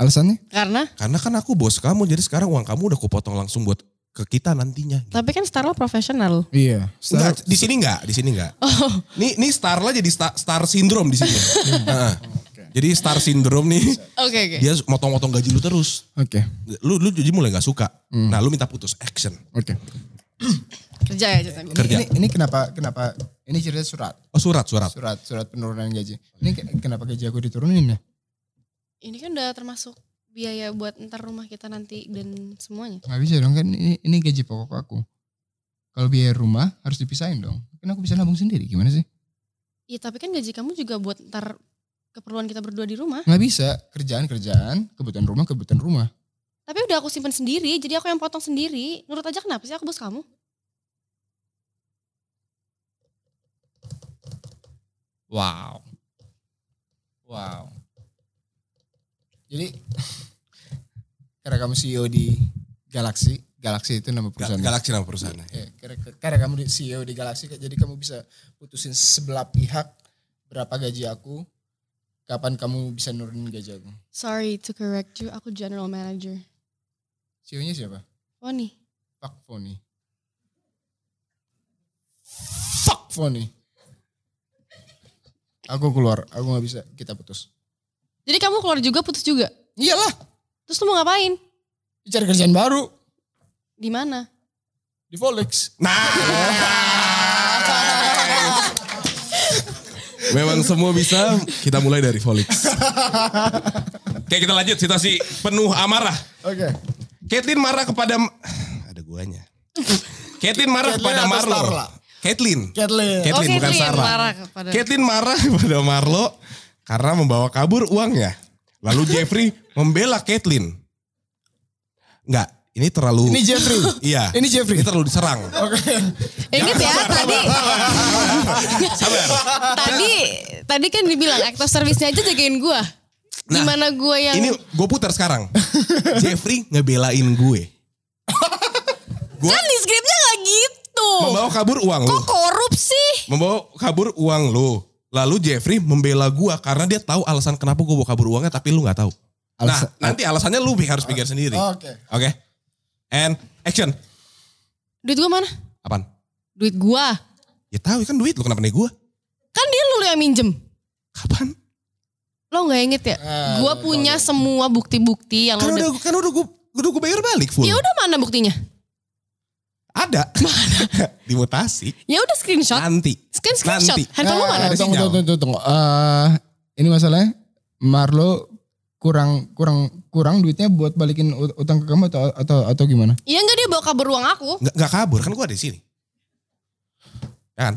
S2: Alasannya?
S3: Karena
S1: Karena kan aku bos kamu jadi sekarang uang kamu udah kupotong langsung buat ke kita nantinya. Gitu.
S3: tapi kan Starla profesional.
S2: Iya. Setelah-
S1: Nggak, di sini nggak, di sini nggak. Nih, nih Starla jadi star, star syndrome di sini. Heeh. Jadi star syndrome nih,
S3: Oke, oke.
S1: dia motong-motong gaji lu terus.
S2: Oke. Hmm,
S1: lu lu jadi mulai nggak suka. Nah, lu minta putus action.
S2: Oke.
S3: Kerja ya, Jason.
S2: Ini,
S1: Kerja.
S2: ini, ini kenapa kenapa ini cerita surat
S1: Oh, surat, surat.
S2: surat surat penurunan gaji. Ini ke- kenapa gaji aku diturunin ya?
S3: Ini kan udah termasuk biaya buat ntar rumah kita nanti dan semuanya.
S2: Gak bisa dong kan ini, ini gaji pokok aku. Kalau biaya rumah harus dipisahin dong. Kan aku bisa nabung sendiri gimana sih?
S3: Iya, tapi kan gaji kamu juga buat ntar keperluan kita berdua di rumah.
S2: Gak bisa kerjaan kerjaan kebutuhan rumah kebutuhan rumah.
S3: Tapi udah aku simpen sendiri, jadi aku yang potong sendiri. Nurut aja kenapa sih aku bos kamu?
S2: Wow. Wow. Jadi karena kamu CEO di Galaxy, Galaxy itu
S1: Ga-
S2: nama perusahaan.
S1: Galaxy nama perusahaannya.
S2: Ya, karena, karena kamu di- CEO di Galaxy, jadi kamu bisa putusin sebelah pihak berapa gaji aku, kapan kamu bisa nurunin gaji aku.
S3: Sorry to correct you, aku general manager.
S2: CEO-nya E siapa?
S3: Oh nih,
S2: Fuck Foni. Fuck Foni. Aku keluar, aku nggak bisa, kita putus.
S3: jadi kamu keluar juga putus juga.
S2: Iyalah,
S3: Terus lu mau ngapain?
S2: cari kerjaan baru
S3: Di mana?
S2: di Volix.
S1: Nah. Memang semua bisa, kita mulai dari Volix. Oke, kita lanjut situasi penuh amarah.
S2: Oke.
S1: Caitlyn marah kepada ada guanya. Caitlyn marah
S2: Caitlyn
S1: kepada
S2: atau
S1: Marlo.
S2: Starla?
S1: Caitlyn.
S2: Kathleen.
S1: Caitlyn
S3: Oh,
S1: bukan
S3: Caitlyn
S1: Sarah.
S3: marah kepada-
S1: Caitlyn marah kepada Marlo karena membawa kabur uangnya. Lalu Jeffrey membela Caitlyn. Enggak, ini terlalu
S2: Ini Jeffrey.
S1: Iya.
S2: Ini Jeffrey.
S1: Ini terlalu diserang.
S3: Ingat ya tadi,
S1: Sabar.
S3: tadi, tadi kan dibilang act of service-nya aja jagain gua.
S1: Nah,
S3: Gimana gua yang
S1: Ini gue putar sekarang. Jeffrey ngebelain gue.
S3: kan di skripnya gak gitu.
S1: Membawa kabur uang lu.
S3: Kok korup sih?
S1: Membawa kabur uang lu. Lalu Jeffrey membela gue karena dia tahu alasan kenapa gue bawa kabur uangnya tapi lu nggak tahu.
S2: Alasan- Oh.
S1: nah, nanti alasannya lu harus pikir sendiri.
S2: Oke.
S1: Oke. And action.
S3: Duit gua mana?
S1: Apaan?
S3: Duit gua.
S1: Ya tahu kan duit lu kenapa nih gua?
S3: Kan dia lu yang minjem.
S1: Kapan?
S3: Lo gak inget ya?
S2: Ah,
S3: gua
S2: lo-
S3: punya semua bukti-bukti yang
S1: Kan
S3: lo udah...
S1: udah kan udah gua udah gua bayar balik full.
S3: Ya udah mana buktinya?
S1: Ada. Dimutasi.
S3: Ya udah screenshot.
S1: Nanti.
S3: Kan screenshot.
S1: Nanti.
S3: Handphone lo
S2: Eh,
S3: mana?
S1: Ada
S2: Tunggu,
S1: sinyal.
S2: tunggu, tunggu, tunggu. Eh, ini masalahnya Marlo kurang kurang kurang duitnya buat balikin ut- utang ke kamu atau atau atau gimana?
S3: Ya enggak dia bawa kabur uang aku.
S1: Nggak, nggak kabur kan gua ada di sini. Ya kan?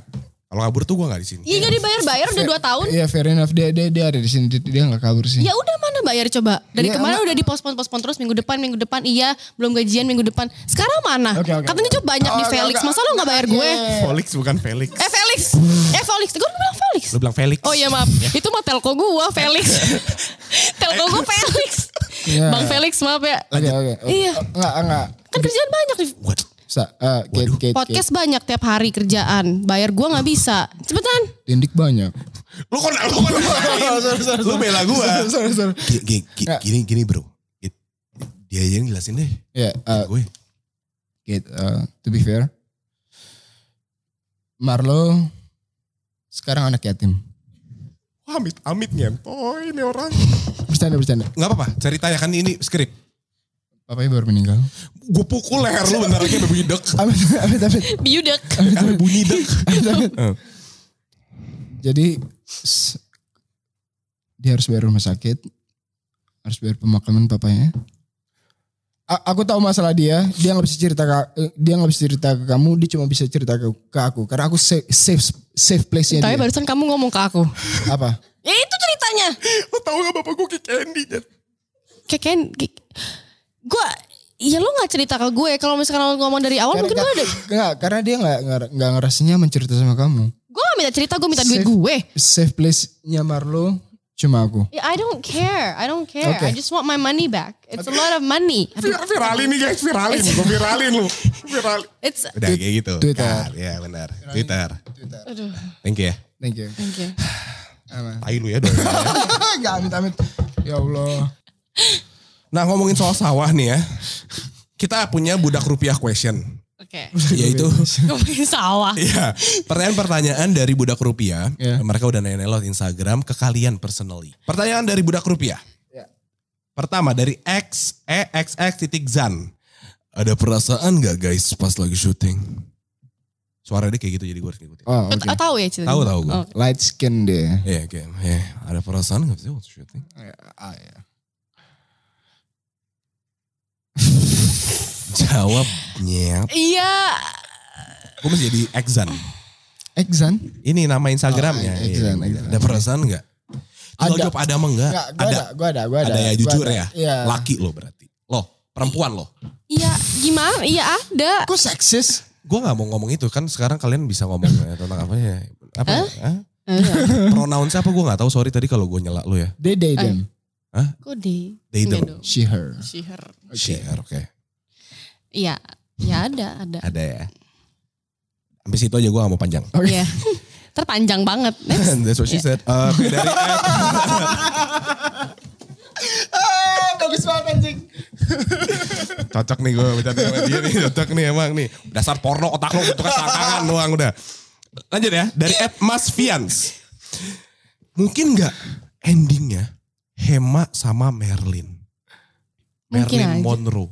S1: Kalau kabur tuh gua nggak di sini.
S3: Ya enggak dibayar-bayar udah 2 tahun.
S2: Iya fair enough dia dia dia ada di sini dia- dia nggak kabur sih.
S3: Ya udah mana bayar coba. Dari
S2: Ya,
S3: kemarin
S2: enggak.
S3: udah dipospon-pospon terus minggu depan, minggu depan iya, belum gajian minggu depan. Sekarang mana?
S2: Oke, oke,
S3: Katanya coba banyak di
S2: Oke,
S3: Felix.
S2: oke.
S3: Masa lo enggak bayar gue?
S2: Iya.
S1: Felix bukan Felix.
S3: Eh Felix. Eh Felix. Gue udah bilang Felix.
S1: Lu bilang Felix.
S3: Oh iya maaf. Itu mah telko gua Felix. telko gua Felix.
S2: Iya.
S3: Bang Felix maaf ya.
S2: Oke oke. Oh,
S3: Iya.
S2: Enggak enggak.
S3: Kan kerjaan banyak nih.
S1: What?
S2: Sa, eh, Kate,
S1: Iya.
S2: Kate, Kate.
S3: Podcast banyak tiap hari kerjaan. Bayar gua nggak bisa. Cepetan.
S2: Dendik banyak.
S1: Lu kok lu kok Lu bela gua.
S2: Sorry, sorry, sorry.
S1: Gi- gi- gi-
S2: Nggak.
S1: Gini gini bro. Gi- Dia aja yang jelasin deh.
S2: Ya, eh,
S1: Gue.
S2: Kate, eh, to be fair. Marlo sekarang anak yatim.
S1: Amit amit nyentoy ini orang.
S2: Bercanda, bercanda.
S1: Gak apa-apa, ceritanya kan ini skrip.
S2: Papanya baru meninggal.
S1: Gue pukul leher lu bentar lagi sampai bunyi dek.
S2: Amit, amit, amit.
S3: Biudek.
S1: Sampai bunyi dek. Eh.
S2: Jadi s- dia harus bayar rumah sakit, harus bayar pemakaman papanya. A- aku tahu masalah dia, dia nggak bisa cerita ke, eh, dia nggak bisa cerita ke kamu, dia cuma bisa cerita ke, ke aku karena aku safe safe, safe place-nya
S3: Tapi
S2: dia.
S3: barusan kamu ngomong ke aku.
S2: Apa?
S3: Ya itu ceritanya.
S1: Lu tau gak bapak gue kayak candy kan?
S3: Keken. Gue. Ya lo gak cerita ke gue. Kalau misalkan lo ngomong dari awal
S2: Karena-
S3: mungkin lo Oh, ada.
S2: Enggak, karena dia nggak nggak- nggak ngerasinya mencerita sama kamu.
S3: Gue gak minta cerita. Gue minta
S2: Safe.
S3: duit gue.
S2: Safe place-nya Marlo cuma aku.
S3: Ya, I don't care. I don't care.
S2: Oke.
S3: I just want my money back. It's a lot of money.
S1: Viralin nih guys, viralin. Gue viralin lu. Viral.
S3: It's.
S1: Udah kayak gitu.
S2: Twitter.
S1: Kar, Ya benar. Twitter.
S3: Aduh.
S1: Thank you ya.
S2: Thank you.
S3: Thank you.
S2: Aman.
S1: Tai lu ya dong.
S2: Enggak, amit, amit. Ya Allah.
S1: Nah ngomongin soal sawah nih ya. Kita punya budak rupiah question.
S3: Oke.
S1: Yaitu.
S3: Ngomongin sawah.
S1: Iya. Pertanyaan-pertanyaan dari budak rupiah.
S2: Iya.
S1: Mereka udah nanya lewat Instagram ke kalian personally. Pertanyaan dari budak rupiah.
S2: Iya.
S1: Pertama dari X, E, X, X titik Zan. Ada perasaan gak guys pas lagi syuting? Suara dia kayak gitu jadi gue harus ngikutin.
S2: Oh, oke.
S3: Okay. Tahu ya cerita.
S1: Tahu tahu gue.
S3: Oh.
S2: Light skin dia.
S1: Iya kayak, eh, ada perasaan gak sih waktu syuting?
S2: Ah, ya.
S1: Jawabnya.
S3: Iya.
S1: Gue masih jadi Xan.
S2: Exan?
S1: Ini nama Instagramnya.
S2: Oh,
S1: Iya,
S2: Xan,
S1: Xan.
S2: Xan.
S1: Ada perasaan gak? Ada.
S2: Ada.
S1: jawab ada apa enggak?
S2: Enggak, gue
S1: ada.
S2: ada, gue ada, gue ada.
S1: Ada ya,
S2: Gua
S1: jujur ya?
S2: Iya.
S1: Laki lo berarti. Lo, perempuan lo.
S3: Iya. Gimana? Iya ada.
S2: Kok seksis?
S1: Gue gak mau ngomong itu kan sekarang kalian bisa ngomong ya, tentang apa ya. Apa ya? Hah? Pronoun siapa gue gak tahu sorry tadi kalau gue nyela lo ya.
S2: They, they, them.
S3: Kok deh.
S1: They
S3: Enggak
S1: them.
S3: Iya, dong.
S2: She, her.
S3: She, her.
S1: Share oke.
S3: Iya. Ya ada, ada.
S1: Ada ya. Sampai situ aja gue gak mau panjang.
S2: Oke.
S3: Iya. Terpanjang banget. Next.
S1: That's what she said. Eh, oke, dari
S2: Ah, bagus banget anjing.
S1: cocok nih gue bercanda sama dia nih cocok nih emang nih dasar porno otak lo bentuknya selangkangan doang udah lanjut ya dari app Mas Fians mungkin nggak endingnya Hema sama Merlin
S3: Mungkin
S1: Merlin
S3: aja.
S1: Monroe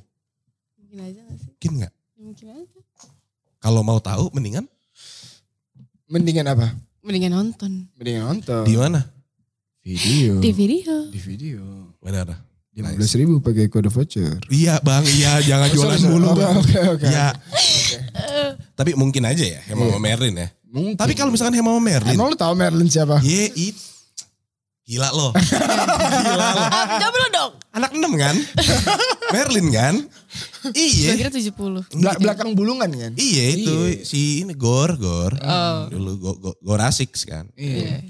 S3: Mungkin aja gak sih?
S1: mungkin nggak
S3: Mungkin aja.
S1: kalau mau tahu mendingan
S2: Mendingan apa?
S3: Mendingan nonton.
S2: Mendingan nonton.
S1: di mana
S2: video.
S3: Di video.
S2: Di video.
S1: benar
S2: Lima belas ribu pakai kode voucher.
S1: iya bang iya jangan jualan
S2: Nah, Sorry, sorry. Oh,
S1: mulu
S2: Oke,
S1: Bang.
S2: Oke, oke.
S1: ya tapi mungkin aja ya Hema sama Merlin ya
S2: Mungkin.
S1: tapi kalau misalkan Hema sama Merlin
S2: Iya. Emang lu tau Merlin siapa?
S1: ye it gila lo gila lo
S3: Ah, jawab dulu dong.
S1: Anak enam kan? Merlin kan?
S3: Gue
S1: Iya.
S3: kira 70.
S2: Bela- belakang bulungan kan?
S1: Iya itu
S2: Iya.
S1: si ini Gor Gor.
S3: Oh.
S1: Dulu go, go, Gor Asics kan.
S3: Iya.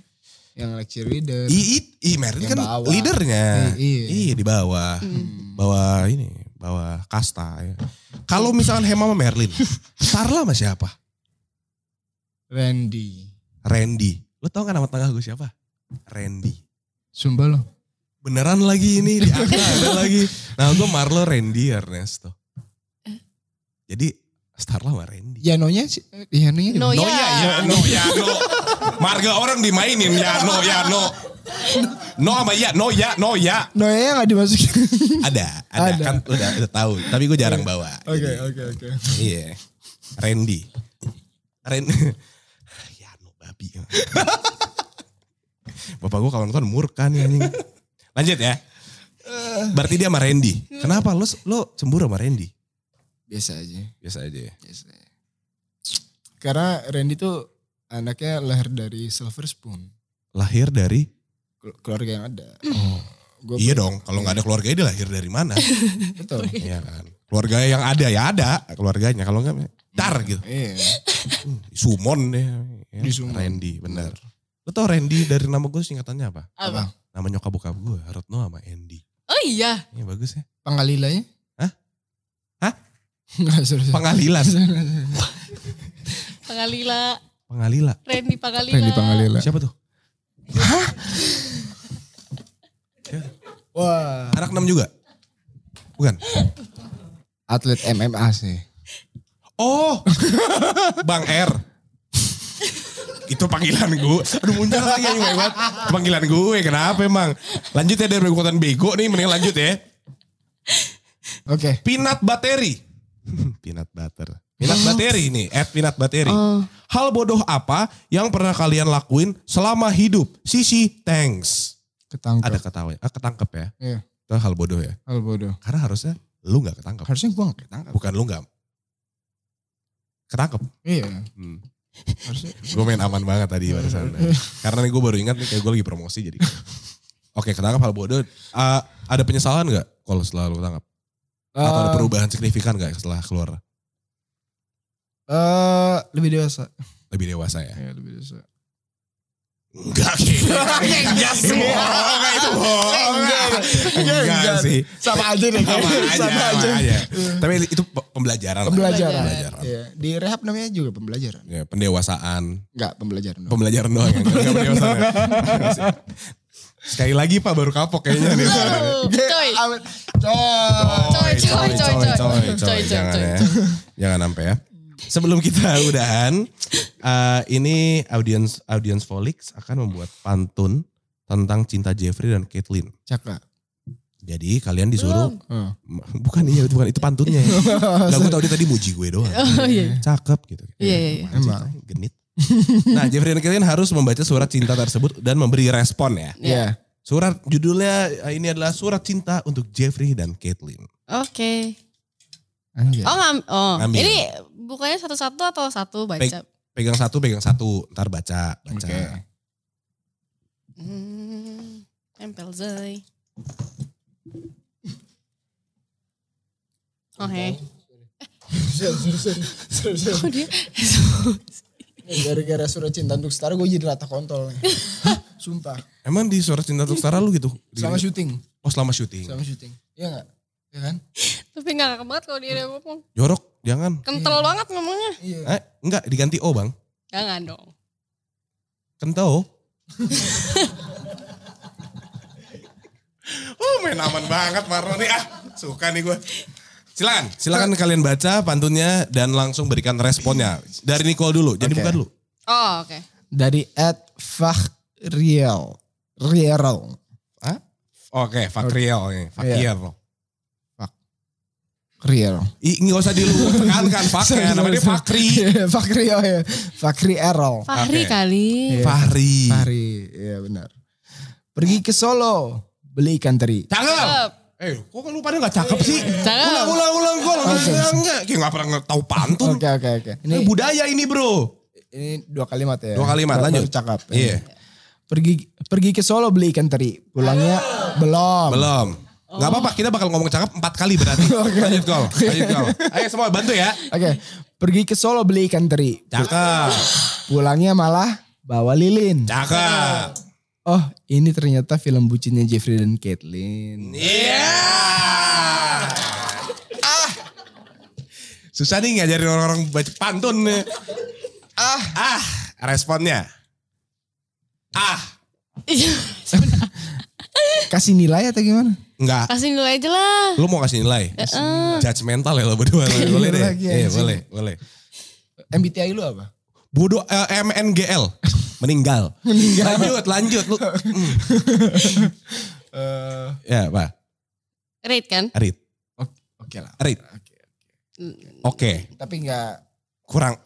S2: Yang cheerleader.
S1: I, i, i Merlin
S2: Yang
S1: kan
S2: bawah.
S1: leadernya.
S2: I- iya.
S1: Iya di bawah.
S2: Hmm.
S1: Bawah ini, bawah kasta ya. Kalau misalkan Hema sama Merlin, Starla sama siapa?
S2: Randy.
S1: Randy. Lo tau kan nama tengah gue siapa? Randy.
S2: Sumpah lo.
S1: Beneran lagi ini di
S2: Eh.
S1: akta ada lagi. Nah gue Marlo Randy Ernesto. Jadi Starla sama Randy.
S2: Yanonya sih, eh, Yanonya di
S3: No,
S1: no
S3: ya.
S1: ya, ya, no ya, no. Marga orang dimainin ya, no ya, no. No sama ya, no ya, no ya.
S2: Noya nggak dimasukin.
S1: Ada, ada,
S2: Ada. Iya.
S1: kan udah, udah tahu. Tapi gue jarang bawa.
S2: Oke,
S1: Jadi,
S2: oke, oke.
S1: Iya. Randy. Ren ya no babi. Bapak gue kalau nonton murka nih anjing. Lanjut ya. Berarti dia sama Randy. Kenapa lo lo cemburu sama Randy?
S2: Biasa aja,
S1: Biasa aja ya.
S2: biasa. aja. Karena Randy tuh anaknya lahir dari Silver Spoon,
S1: Lahir dari
S2: Kel- keluarga yang ada. Gua
S1: Iya dong, kalau nggak ada keluarganya dia lahir dari mana?
S2: betul.
S1: Iya kan. Keluarganya yang ada ya ada keluarganya kalau nggak dar gitu.
S2: Iya.
S1: Hmm, Sumon deh. Ya.
S2: Di Sumon.
S1: Randy, benar. Lo tau Randy dari nama gue singkatannya apa?
S3: Apa?
S1: Nama nyokap bokap gue, Retno sama Andy.
S3: Oh iya.
S1: Ini bagus ya.
S2: Pangalilanya?
S1: Hah? Hah?
S2: Enggak, serius.
S1: Pengalilan.
S2: Iya.
S3: Pangalila.
S1: Pengalila.
S3: Randy Pangalila.
S2: Randy Pangalila.
S1: Siapa tuh?
S2: Wah,
S1: Anak enam juga? Bukan?
S2: atlet MMA sih.
S1: Oh, Bang R. itu panggilan gue. Aduh muncul lagi anjing banyak banget. Panggilan gue, kenapa emang? Lanjut ya dari kekuatan bego nih, mending lanjut ya.
S2: Oke.
S1: Pinat bateri. Pinat butter. Pinat bateri ini, at pinat bateri.
S3: Oh.
S1: Hal bodoh apa yang pernah kalian lakuin selama hidup? Sisi, thanks.
S2: Ketangkep.
S1: Ada ketawa ya? Ah, ketangkep ya?
S2: Iya.
S1: Itu hal bodoh ya?
S2: Hal bodoh.
S1: Karena harusnya lu gak ketangkep.
S2: Harusnya gua gak ketangkep.
S1: Bukan lu gak ketangkep.
S2: Iya.
S1: Hmm.
S2: Harusnya.
S1: Gue main aman banget tadi barusan. Karena nih gue baru ingat nih kayak gue lagi promosi jadi. Oke ketangkap hal bodoh. Ah, ada penyesalan gak kalau setelah lu ketangkap? Atau ada
S2: Eh,
S1: perubahan signifikan gak setelah keluar?
S2: eh, lebih dewasa.
S1: Lebih dewasa ya?
S2: Iya, lebih dewasa.
S1: Enggak kayaknya. Enggak sih. Bohong itu bohong. Enggak,
S2: Enggak.
S1: sih.
S2: Sama aja deh.
S1: Sama
S2: kayaknya.
S1: aja,
S2: Sama
S1: sama
S2: aja.
S1: aja. Tapi itu pe- pembelajaran. lah.
S2: Pembelajaran.
S1: Pembelajaran.
S2: Iya. Di rehab namanya juga pembelajaran.
S1: Ya, pendewasaan.
S2: Enggak, pembelajaran. doang.
S1: Pembelajaran doang. Enggak, enggak pendewasaan. ya. Sekali lagi Pak baru kapok kayaknya. nih.
S3: Oh, Coy.
S2: Amin. Coy.
S3: Coy, coy, coy, coy. Coy, coy,
S1: Jangan
S3: coy.
S1: ya. Jangan sampai ya. Sebelum kita udahan, eh, ini audience audience Volix akan membuat pantun tentang cinta Jeffrey dan Caitlyn.
S2: Cakra.
S1: Jadi kalian disuruh
S3: Belum.
S2: Oh.
S1: Bukan iya, bukan itu pantunnya.
S2: Iya.
S1: Lah gue tau dia tadi muji gue doang.
S3: Oh iya.
S1: Cakep gitu.
S3: Iya, iya, iya.
S1: Emang. Genit. Nah Jeffrey dan Caitlyn harus membaca surat cinta tersebut dan memberi respon ya.
S3: Iya.
S2: Iya.
S1: Surat judulnya eh, ini adalah surat cinta untuk Jeffrey dan Caitlyn.
S3: Oke.
S2: Anjay.
S3: Oh, ngam, oh.
S1: Ngambil.
S3: ini bukannya satu-satu atau satu baca?
S1: Pegang satu, pegang satu. Ntar baca, baca.
S2: Oke.
S3: Hmm, tempel Zai. Oke. Kok dia?
S2: Gara-gara surat cinta untuk setara gue jadi rata kontol. nih. Sumpah.
S1: Emang di surat cinta untuk Sarah lu gitu? Di-
S2: Sama syuting.
S1: oh selama syuting.
S2: Sama syuting. Iya enggak? Iya kan?
S3: Tapi gak kakak banget kalau dia ada ngomong.
S1: Jorok, jangan.
S3: Kental banget ngomongnya.
S2: Iya.
S1: Eh, enggak, diganti O bang.
S3: Jangan dong.
S1: Kentau. oh main aman banget Marno nih ah. Suka nih gue. Silakan, silakan kalian baca pantunnya dan langsung berikan responnya. Dari Nicole dulu, jadi
S2: Oke.
S1: buka dulu.
S3: Oh, oke.
S2: Dari at Fahriel. Riel.
S1: Hah? Oke, Fakriel.
S2: Iya.
S1: nih, Fakriel.
S2: Riel.
S1: Ih, nggak usah dulu tekankan, Fakri.
S2: Sorry,
S1: Namanya dia
S2: sorry,
S1: Fakri.
S2: Iya, Fakri oh ya. Fakri Errol.
S3: Fahri
S1: Oke.
S3: kali.
S2: Iya.
S1: Fahri.
S2: Fakri, iya benar. Pergi ke Solo, beli ikan teri.
S1: Cakep.
S3: Cakep.
S1: Eh, kok lu pada gak cakep sih?
S3: Cakep.
S1: Ulang, ulang, ulang. Gue
S2: Oke.
S1: enggak, enggak. Kayak gak pernah tahu pantun.
S2: Oke oke oke.
S1: Ini
S2: Ini,
S1: budaya ini bro.
S2: ini dua kalimat ya.
S1: Dua kalimat,
S2: Baru-
S1: lanjut.
S2: baru Cakep.
S1: Iya.
S2: Pergi pergi ke Solo beli ikan teri. Pulangnya belum.
S1: Belum. Gak apa-apa, kita bakal ngomong cakep empat kali berarti. Lanjut gol, lanjut gol. Ayo semua bantu ya.
S2: Oke. Pergi ke Solo beli ikan teri.
S1: Cakep,
S2: Pulangnya malah bawa lilin.
S1: cakep.
S2: Oh, ini ternyata film bucinnya Jeffrey dan Caitlin.
S1: Iya. Ah. Susah nih ngajarin orang-orang baca pantun. Ah, ah, responnya. Ah,
S3: Iya.
S2: kasih nilai atau gimana?
S1: Enggak.
S3: Kasih nilai aja lah.
S1: Lu mau kasih nilai?
S3: Heeh.
S1: Judgmental ya lo berdua.
S2: Iya,
S1: boleh deh.
S2: lagi
S1: Iya,
S2: anjing.
S1: boleh, boleh.
S2: MBTI lu apa?
S1: Bodoh eh, MNGL. Meninggal. Lanjut, lanjut. Lu, Mm.
S2: Eh,
S1: Ya, Pak.
S3: Rate kan?
S1: Arit.
S2: Oke lah.
S1: Arit.
S2: Oke.
S1: Oke.
S2: Tapi nggak.
S1: Kurang.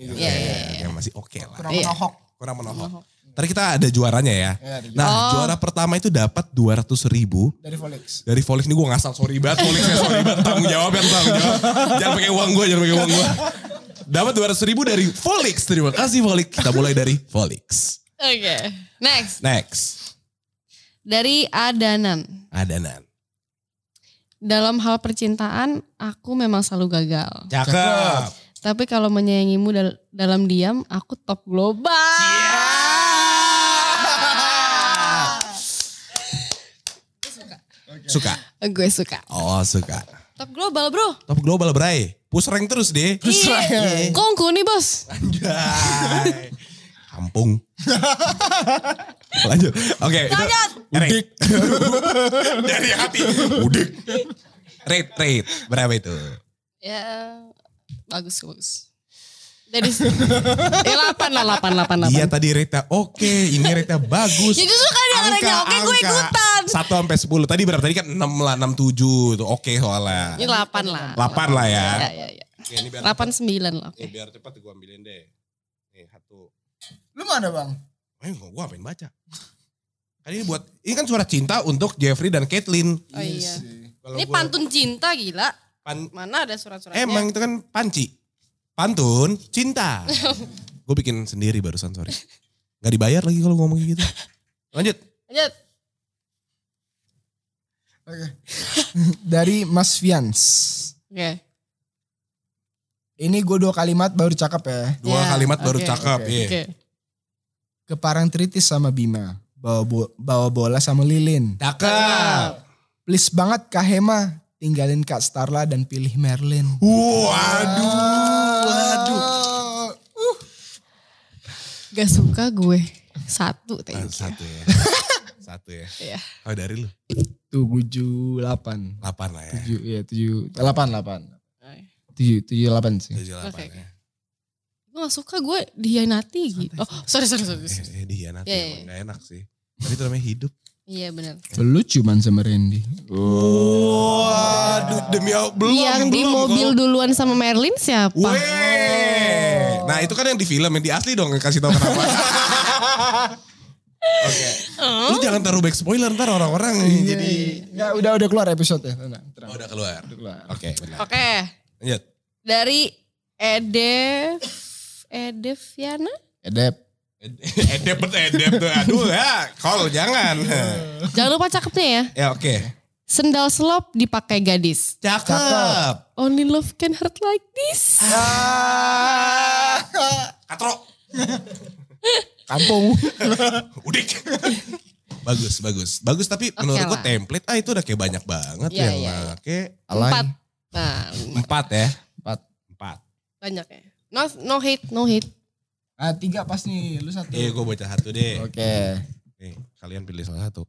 S2: Iya.
S3: Iya, iya,
S1: Ya, masih oke lah.
S2: Kurang
S3: Iya.
S2: menohok.
S1: Kurang menohok. Tadi kita ada juaranya ya.
S2: Ya, dari-
S1: Nah,
S3: Oh.
S1: juara pertama itu dapat 200 ribu
S2: dari Volix.
S1: dari Volix ini gue ngasal sorry banget Volixnya sorry banget tanggung jawab ya tanggung jawab jangan pakai uang gue jangan pakai uang gue dapat 200 ribu dari Volix terima kasih Volix kita mulai dari Volix
S3: Oke. Next.
S1: next
S3: Dari Adanan.
S1: Adanan
S3: Dalam hal percintaan, aku memang selalu gagal.
S1: cakep
S3: Tapi kalau menyayangimu dal- dalam diam, aku top global.
S1: suka
S3: Gue suka.
S1: oh suka
S3: Iya. Top global bro.
S1: top global bray push rank terus deh
S3: Iya. Kongku nih bos.
S1: Anjay. kampung lanjut oke itu-
S3: Lanjut.
S1: Udik. Dari hati. Udik. Rate, rate. Berapa itu?
S3: Ya bagus bagus. Dari ya, 8 lah 8 8 8.
S1: Iya tadi rate oke, ini rate bagus.
S3: Ya justru kan yang rate-nya oke, gue
S1: angka.
S3: ikutan.
S1: 1 sampai 10. Tadi berapa? Tadi kan 6 lah, 6 7 itu oke soalnya.
S3: Ini 8 lah.
S1: 8 lah ya.
S3: Ya, ya, ya.
S1: Oke, ini biar
S3: 8 9 lah.
S1: Nih,
S3: Oke.
S1: biar cepat gue ambilin deh. Nih, satu.
S2: Lu mana bang?
S1: Eh, gue apain baca? Kan ini buat ini kan surat cinta untuk Jeffrey dan Caitlin.
S3: Oh iya.
S2: sih.
S1: Kalau
S3: Ini
S1: gua-
S3: pantun cinta gila.
S1: pan-
S3: Mana ada surat-suratnya?
S1: Emang itu kan panci. Pantun, cinta. gue bikin sendiri barusan, sorry. Gak dibayar lagi kalau ngomong kayak gitu. Lanjut.
S3: Lanjut.
S2: Oke. dari Mas Fians.
S3: Oke.
S2: Ini gue dua kalimat baru cakep ya.
S1: Dua
S3: Ya,
S1: kalimat baru
S3: oke,
S1: cakep.
S2: oke.
S1: iya.
S3: Oke.
S2: Ke Parangtritis sama Bima. Bawa, bo- bawa bola sama Lilin.
S1: Cakep.
S2: Please banget Kak Hema. Tinggalin Kak Starla dan pilih Merlin.
S1: Waduh. Waduh.
S3: Ah, Gak suka gue.
S1: Ah,
S3: Satu thank you.
S1: Satu ya. Satu ya.
S3: Iya.
S1: Kalau dari lu?
S2: Tujuh delapan.
S1: Lapan lah ya.
S2: Tujuh, iya tujuh. Delapan, delapan.
S3: Oke.
S2: Tujuh, tujuh delapan sih.
S1: Tujuh lapan
S3: Oke,
S1: ya.
S3: Gue gak suka gue dihianati gitu. Oh sorry sorry sorry.
S1: Eh, eh, dihianati
S3: Iya, iya.
S1: emang gak enak sih. Tapi itu namanya hidup.
S3: Iya benar.
S2: Lu cuman sama Randy.
S1: Waduh, demi Allah. Belum,
S3: Yang di
S1: belum.
S3: mobil duluan sama Merlin siapa?
S1: Weh. Nah itu kan yang di film, yang di asli dong yang kasih tahu kenapa. Oke. Lu jangan taruh back spoiler ntar orang-orang
S2: Iya,
S1: jadi
S2: Enggak, udah udah keluar episode ya. Tenang, tenang.
S1: Oh, udah keluar.
S2: Udah keluar.
S1: Oke, benar.
S3: Oke.
S1: Lanjut.
S3: Dari Ede Edeviana?
S2: Edep.
S1: Edep, edep tuh. Aduh ya, call jangan.
S3: Jangan lupa cakepnya ya.
S1: Iya. ya oke.
S3: Sendal selop dipakai gadis.
S1: Cakep.
S3: Only love can hurt like this.
S1: Ah. Katro.
S2: Kampung.
S1: Udik. bagus, bagus. Bagus tapi
S3: Oke
S1: menurut gua
S3: lah.
S1: template ah itu udah kayak banyak banget ya,
S3: Iya,
S1: yang
S3: iya, iya.
S1: make.
S2: Alay.
S3: Empat. Nah,
S1: Empat ya.
S2: Empat.
S1: Empat.
S3: banyak ya. No, no hate, no hate.
S2: Ah, tiga pas nih. Lu satu.
S1: Eh, gue baca satu deh.
S2: Oke.
S1: Nih, kalian pilih salah satu.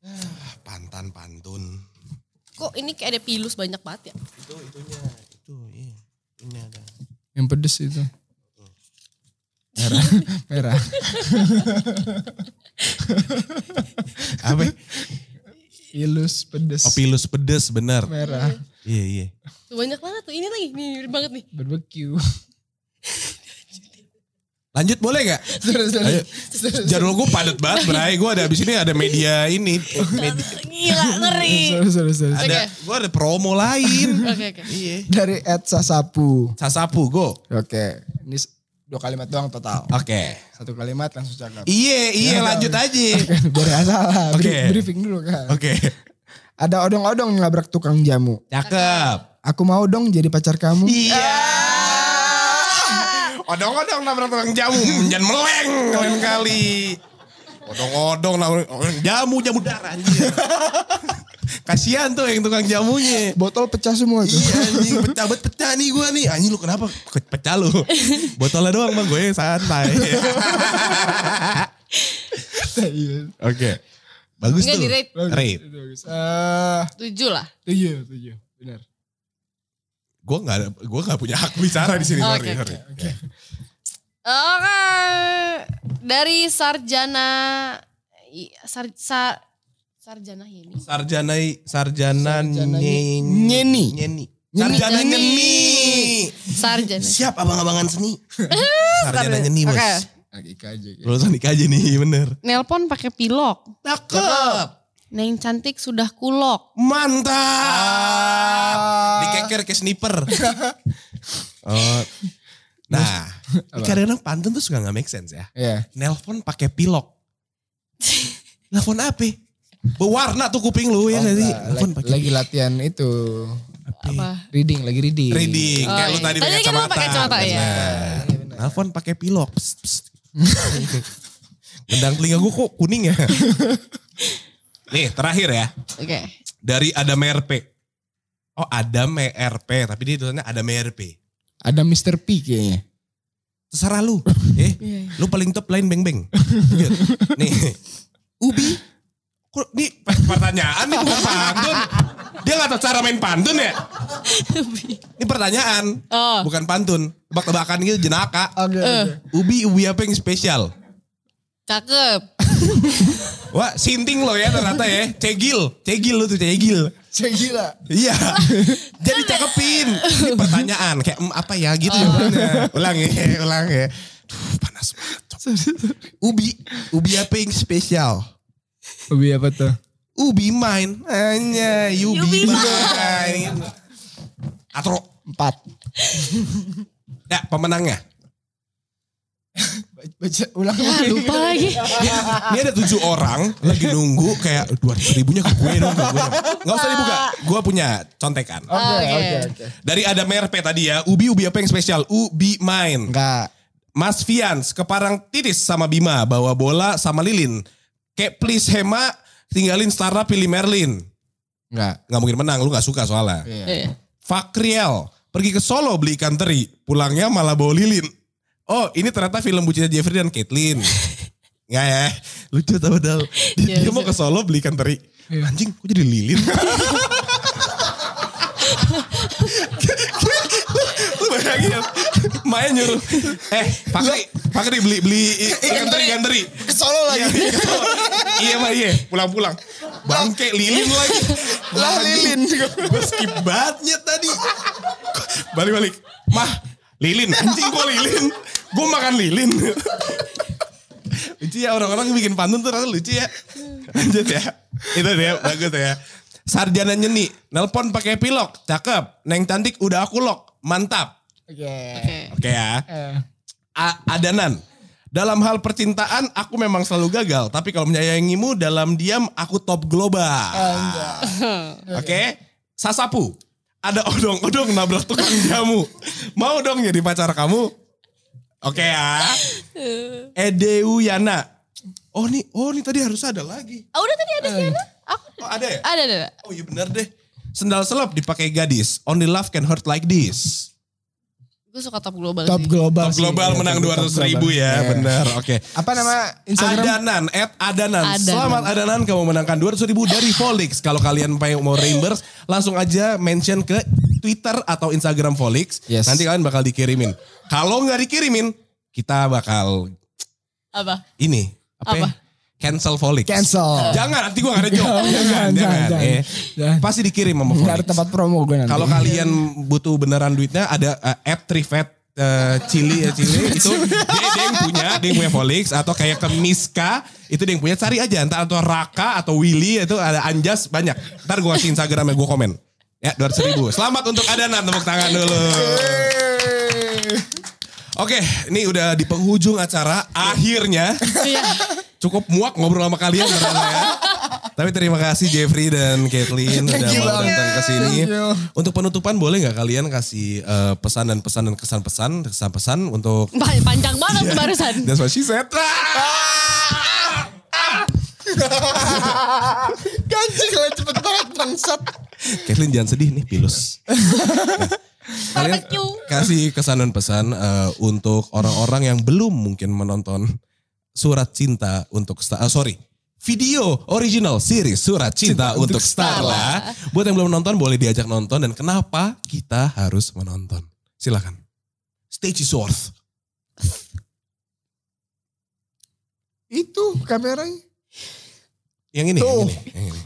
S1: Ah, Pantan pantun.
S3: Kok ini kayak ada pilus banyak banget ya?
S1: Itu itunya, itu iya. Ini ada.
S2: Yang pedes itu. Merah. Merah.
S1: Apa?
S2: Ilus pedes.
S1: Opilus pedes bener.
S2: Merah.
S1: Iya iya.
S3: Tuh banyak banget tuh. Ini lagi, nih mirip banget nih.
S2: Barbecue.
S1: Lanjut boleh gak?
S2: Terus,
S1: Ayo.
S2: terus. Terus.
S1: Jadwal gue padat banget Bray. Gue ada abis ini ada media ini. Media,
S3: Gila, ngeri.
S2: Terus, terus, terus.
S1: ada, gue ada promo lain.
S3: Oke, oke.
S1: iya.
S2: Dari Ed Sasapu.
S1: Sasapu go.
S2: Oke. Ini s- dua kalimat doang total.
S1: Oke.
S2: Satu kalimat langsung cakap.
S1: Iya iya lanjut aja.
S2: Biar gak salah.
S1: Iya. Oke.
S2: Bri- Briefing dulu kan.
S1: Oke.
S2: Ada odong-odong ngelabrak tukang jamu.
S1: Cakep.
S2: Aku mau dong jadi pacar kamu.
S1: Iya. Odong-odong nabrak tukang jamu, jangan meleng lain kali. Odong-odong nabrak orang jamu, jamu darah anjir. Kasihan tuh yang tukang jamunya.
S2: Botol pecah semua tuh.
S1: Iya anjing pecah bet pecah nih gue nih anjing lu kenapa Ke- pecah lu botolnya doang bang gue santai
S2: Iya.
S1: oke bagus
S3: Enggak
S1: tuh
S3: di rate
S1: Rate.
S2: Itu bagus. Ah,
S3: tujuh lah.
S2: tujuh, tujuh. Benar.
S1: gue nggak ada- gue nggak punya hak bicara di sini
S3: Oke,
S1: sorry
S3: oke,
S1: sorry
S2: oke.
S3: Oke. Dari sarjana i- sar, sa- sarjana ini.
S1: sarjana sarjana
S2: Sarjana
S1: nyeni
S2: nyeni.
S1: nyeni
S2: Nyeni.
S1: sarjana
S3: Nyeni.
S1: nyeni
S3: Sarjana.
S1: siap abang-abangan seni sarjana
S3: Sarjana.
S1: nyeni
S3: Oke.
S1: mas
S2: Oke, Ika aja. Ika.
S1: lulusan nikah aja nih iya bener
S3: Nelpon pakai pilok.
S1: cakep
S3: Neng cantik sudah kulok.
S1: mantap
S2: Ah.
S1: dikeker ke sniper. oh. Nah, ini kadang-kadang pantun tuh suka gak make sense ya.
S2: Iya.
S1: Nelpon pakai pilok. Nelpon apa? Berwarna tuh kuping lu ya
S2: Oh,
S1: gak sih?
S2: enggak,
S1: Nelpon
S2: lagi-
S1: pakai
S2: lagi latihan itu
S1: apa?
S3: Apa?
S2: reading, lagi reading.
S1: Reading,
S3: Oh,
S1: kayak lu
S3: iya.
S1: tadi
S3: Tadi
S1: pakai
S3: kan lu
S1: kacamata.
S3: pakai kacamata, iya.
S1: Benar. Nelpon pakai pilok. Psst, psst. Gendang telinga gue kok kuning ya. Nih terakhir ya.
S3: Oke.
S1: Dari Adam RP. Oh Adam RP. Tapi dia tulisannya Adam RP.
S2: Ada Mr. P kayaknya.
S1: Terserah lu. Eh,
S3: Iya, iya.
S1: lu paling top lain beng beng. nih, Ubi. Kok nih per- pertanyaan nih bukan pantun. Dia gak tahu cara main pantun ya? Ini pertanyaan,
S3: Oh.
S1: bukan pantun. Tebak-tebakan gitu jenaka.
S3: Eh.
S2: Ada, ada.
S1: Ubi, ubi apa yang spesial?
S3: Cakep.
S1: Wah, sinting lo ya ternyata ya. Cegil, cegil lu tuh cegil.
S2: Saya gila.
S1: Iya. Jadi cakepin. Ini pertanyaan kayak "Em, apa ya gitu jawabannya. Ulang ya, ulang ya. Duh, panas banget. Cok. Ubi, ubi apa yang spesial?
S2: Hobi apa tuh?
S1: Ubi mine. Hanya you,
S3: You
S1: be
S3: be
S1: mine. Atro.
S2: Empat.
S1: Ya, pemenangnya.
S2: Baca ulang
S3: Ah, lupa lagi.
S1: Ini ada tujuh orang lagi nunggu kayak dua ribunya ke gue dong. ke gue dong." Nggak usah dibuka. Gue punya contekan.
S2: Oke,
S3: Ah, Oke.
S2: oke, oke.
S1: Dari ada merpe tadi ya. Ubi, ubi apa yang spesial? Ubi mine.
S2: Enggak.
S1: Mas Fians ke Parang Titis sama Bima bawa bola sama Lilin. Kayak please Hema tinggalin Starla pilih Merlin.
S2: Enggak.
S1: Nggak mungkin menang, lu nggak suka soalnya.
S2: Iya.
S3: Iya.
S1: Fakriel pergi ke Solo beli ikan teri, pulangnya malah bawa Lilin. Oh ini ternyata film bucinnya Jeffrey dan Caitlin. Nggak ya, lucu tau padahal. Dia, dia
S3: Iya,
S1: mau ke Solo beli ikan teri. Anjing, kok jadi Lilin? lu bayangin Maya nyuruh eh Fakri Fakri beli beli i- ikan teri ikan teri
S2: Ke Solo
S1: Iya,
S2: lagi.
S1: iya mah iya pulang pulang bangke lilin lagi
S2: Lah, lilin.
S1: gue skip bangetnya tadi balik balik mah lilin anjing gue lilin gue makan lilin lucu ya orang-orang yang bikin pantun tuh ternyata lucu ya lanjut ya itu dia bagus ya sarjana nyeni nelpon pakai pilok cakep neng cantik udah aku lok mantap
S2: Oke.
S3: Oke.
S1: oke ya
S2: Eh,
S1: A- Adanan. Dalam hal percintaan aku memang selalu gagal, tapi kalau menyayangimu dalam diam aku top global.
S2: Ah,
S1: Oke. Sasapu. Ada odong-odong nabrak tukang jamu. Mau dong jadi pacar kamu? Oke ya. Edeu Yana. Oh nih, oh nih tadi harus ada lagi.
S3: Ah, udah tadi ada
S2: Eh.
S3: Siana? Aku
S1: Oh ada ya?
S3: ada ada. ada.
S1: Oh iya benar deh. Sendal selap dipakai gadis. Only love can hurt like this.
S3: Gue suka top global
S2: Top
S3: sih.
S2: global.
S1: Top
S2: sih.
S1: global
S2: Iya,
S1: menang
S2: top-
S1: dua
S2: top global.
S1: ribu ya,
S2: Iya.
S1: benar. Oke.
S2: Apa nama Instagram?
S1: Adanan, at Adanan.
S3: Adanan.
S1: Selamat Adanan, kamu menangkan 200 ribu dari Volix. Kalau kalian pengen mau reimburse, langsung aja mention ke Twitter atau Instagram Volix.
S2: Yes.
S1: Nanti kalian bakal dikirimin. Kalau nggak dikirimin, kita bakal
S3: Apa?
S1: ini. ya?
S3: Apa?
S1: Cancel Volix.
S2: Cancel.
S1: Jangan, nanti gue gak ada joke.
S2: Jangan,
S1: jangan, jangan.
S2: jangan, jangan.
S1: Eh,
S2: Jangan.
S1: Pasti dikirim sama
S2: Enggak ada
S1: Volix.
S2: tempat promo gue nanti. Iya.
S1: Kalau kalian butuh beneran duitnya ada eh, app Trivet eh, Chili ya Chili itu dia, dia yang punya, dia yang punya Volix atau kayak ke Miska itu dia yang punya cari aja entah atau Raka atau Willy itu ada Anjas banyak. Ntar gue kasih Instagramnya gue komen. Ya 200 ribu. Selamat untuk Adana tepuk tangan dulu. Oke, ini udah di penghujung acara. Akhirnya
S3: Iya.
S1: cukup muak ngobrol sama kalian ternyata ya. Tapi terima kasih Jeffrey dan Caitlin udah
S2: you
S1: mau
S2: banget.
S1: datang ke sini.
S2: Thank you.
S1: Untuk penutupan boleh nggak kalian kasih eh, pesan dan pesan dan kesan-pesan, kesan-pesan untuk
S3: Pa- Panjang banget
S2: Iya.
S3: barusan.
S1: That's what she said.
S2: Ganjil cepet banget bang. bangsat.
S1: Kathleen jangan sedih nih, pilus. Kalian
S3: Barbecue.
S1: kasih kesan dan pesan eh, untuk orang-orang yang belum mungkin menonton Surat Cinta untuk Star, eh, sorry, video original series Surat Cinta, untuk Starla. Buat yang belum nonton boleh diajak nonton dan kenapa kita harus menonton. Silakan. Stage is yours.
S2: Itu kameranya.
S1: Yang ini, yang
S2: Tuh.
S1: ini, yang ini.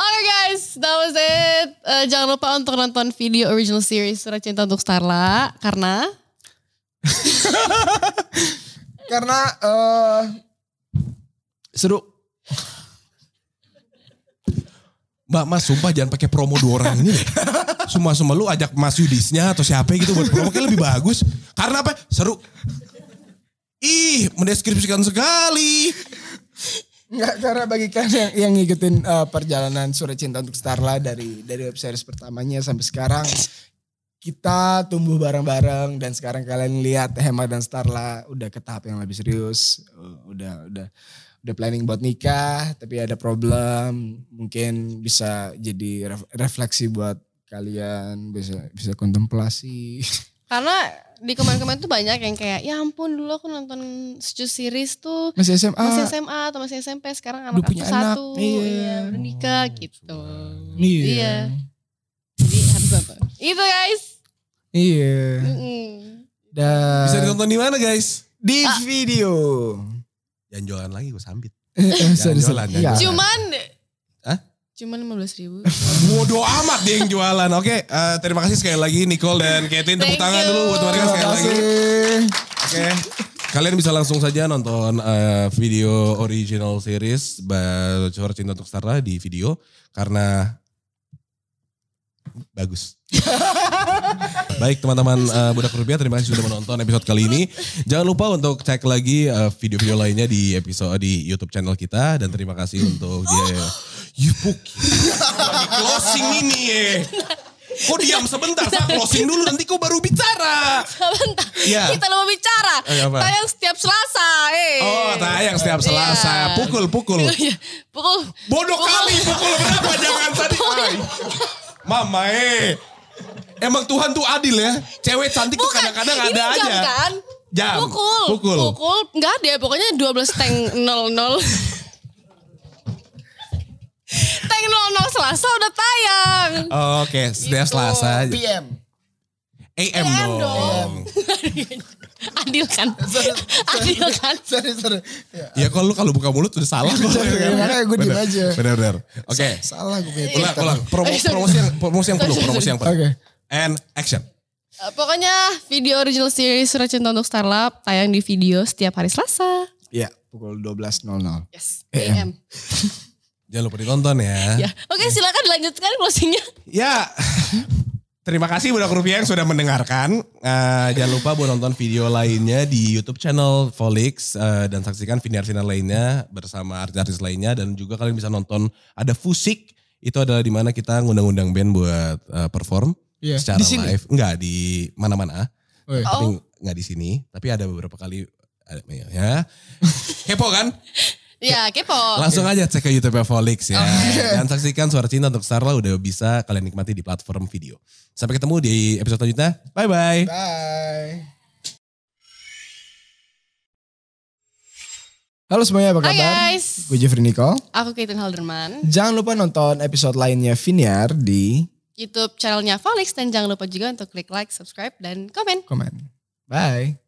S3: Alright guys, that was it. Eh, jangan lupa untuk nonton video original series Surat Cinta untuk Starla karena
S2: Karena eh seru.
S1: Mbak Mas, sumpah jangan pakai promo dua orang ini deh. Sumpah-sumpah lu ajak Mas Yudisnya atau siapa gitu buat promo kayaknya lebih bagus. Karena apa? Seru. Ih, mendeskripsikan sekali.
S2: Enggak karena bagi kalian yang, yang ngikutin eh, perjalanan Surat Cinta untuk Starla dari dari web series pertamanya sampai sekarang kita tumbuh bareng-bareng dan sekarang kalian lihat Hema dan Starla udah ke tahap yang lebih serius, eh, udah udah udah planning buat nikah tapi ada problem, mungkin bisa jadi ref- refleksi buat kalian, bisa bisa kontemplasi.
S3: karena di komen-komen tuh banyak yang kayak ya ampun dulu aku nonton seju series tuh
S2: Masih SMA.
S3: masih SMA atau masih SMP sekarang anak
S2: Ah. Udah punya
S3: aku satu
S2: anak, iya.
S3: iya udah nikah gitu
S2: Iya.
S3: Iya. jadi harus nonton itu guys
S2: Iya.
S3: Mm-mm.
S2: Dan
S1: Bisa ditonton di mana guys?
S2: di video.
S1: Jangan jualan lagi gue sambit. jualan,
S2: Sorry,
S1: kan?
S2: sorry.
S1: jangan
S2: Iya.
S1: jualan.
S3: cuman
S1: Hah?
S3: cuman lima belas ribu
S1: Bodoh amat dia yang jualan. Oke, eh, terima kasih sekali lagi Nicole dan Kathleen. Tepuk
S3: Thank
S1: tangan
S3: you.
S1: dulu buat mereka
S2: Terima
S1: sekali lagi.
S2: kasih.
S1: Oke. Kalian bisa langsung saja nonton eh, video original series Bocor Cinta untuk Starla di video karena bagus. Baik teman-teman eh, Budak Rupiah terima kasih sudah menonton episode kali ini. Jangan lupa untuk cek lagi eh, video-video lainnya di episode di YouTube channel kita dan terima kasih untuk dia Yupuk. Ya Lagi closing ini ya. Kok diam sebentar, saya closing dulu nanti kau baru bicara.
S3: bentar
S1: Iya.
S3: kita mau bicara
S1: Eh, apa?
S3: tayang setiap Selasa eh
S1: Oh tayang setiap Selasa.
S3: Iya.
S1: Pukul, pukul.
S3: Iya, pukul
S1: Bodoh kali pukul berapa jangan tadi. Ay. Mama eh. Emang Tuhan tuh adil ya. Cewek cantik tuh
S3: Bukan,
S1: kadang-kadang
S3: ini
S1: ada
S3: jam
S1: aja.
S3: kan?
S1: Jam.
S3: Pukul.
S1: Pukul.
S3: Pukul. Enggak ada ya, pokoknya 12 tank 00. tank 00 Selasa udah tayang.
S1: Oke, setiap
S3: Gitu.
S1: Selasa.
S2: PM.
S1: AM
S3: PM
S1: dong.
S3: dong. Adil kan? Adil kan?
S2: Sorry, sorry.
S1: Ya
S2: Ya.
S1: kalau lu kalau buka mulut udah salah.
S3: Iya,
S1: kok.
S2: Sorry, makanya gue diem
S1: Bener,
S2: aja.
S1: Bener-bener. Oke.
S2: Salah gue punya
S1: Ulang,
S2: Twitter.
S1: ulang. Promo-
S3: Eh, sorry.
S1: Promosi yang promosi yang penuh,
S3: Sorry,
S1: promosi yang penuh.
S2: Oke.
S1: And action.
S3: Eh, Pokoknya video original series Surat Cinta untuk Starlab tayang di video setiap hari Selasa.
S2: Iya, pukul 12.00.
S1: Iya.
S3: Yes, AM.
S1: Jangan lupa ditonton ya.
S3: Ya. Oke, silakan dilanjutkan closingnya.
S1: Ya, terima kasih Budak Rupiah yang sudah mendengarkan. Eh, jangan lupa buat nonton video lainnya di YouTube channel Volix. eh, dan saksikan video-video lainnya bersama artis-artis lainnya. Dan juga kalian bisa nonton ada Fusik. Itu adalah di mana kita ngundang-undang band buat eh, perform
S2: Iya,
S1: secara
S2: di sini?
S1: live. Enggak, di mana-mana.
S2: Oh, iya.
S1: Tapi enggak di sini. Tapi ada beberapa kali. ada- Ya. Kepo kan?
S3: Ya, kepo.
S1: Langsung aja cek ke YouTube Volix ya. Dan saksikan Suara Cinta untuk Starla udah bisa kalian nikmati di platform video. Sampai ketemu di episode selanjutnya. Bye-bye.
S2: Bye. Halo semuanya, apa
S3: Hai
S2: kabar?
S3: guys.
S2: Gue Jeffrey Nicole.
S3: Aku Caitlin Halderman.
S2: Jangan lupa nonton episode lainnya Viniar di
S3: YouTube channelnya Felix dan jangan lupa juga untuk klik like, subscribe, dan komen.
S2: komen. Bye.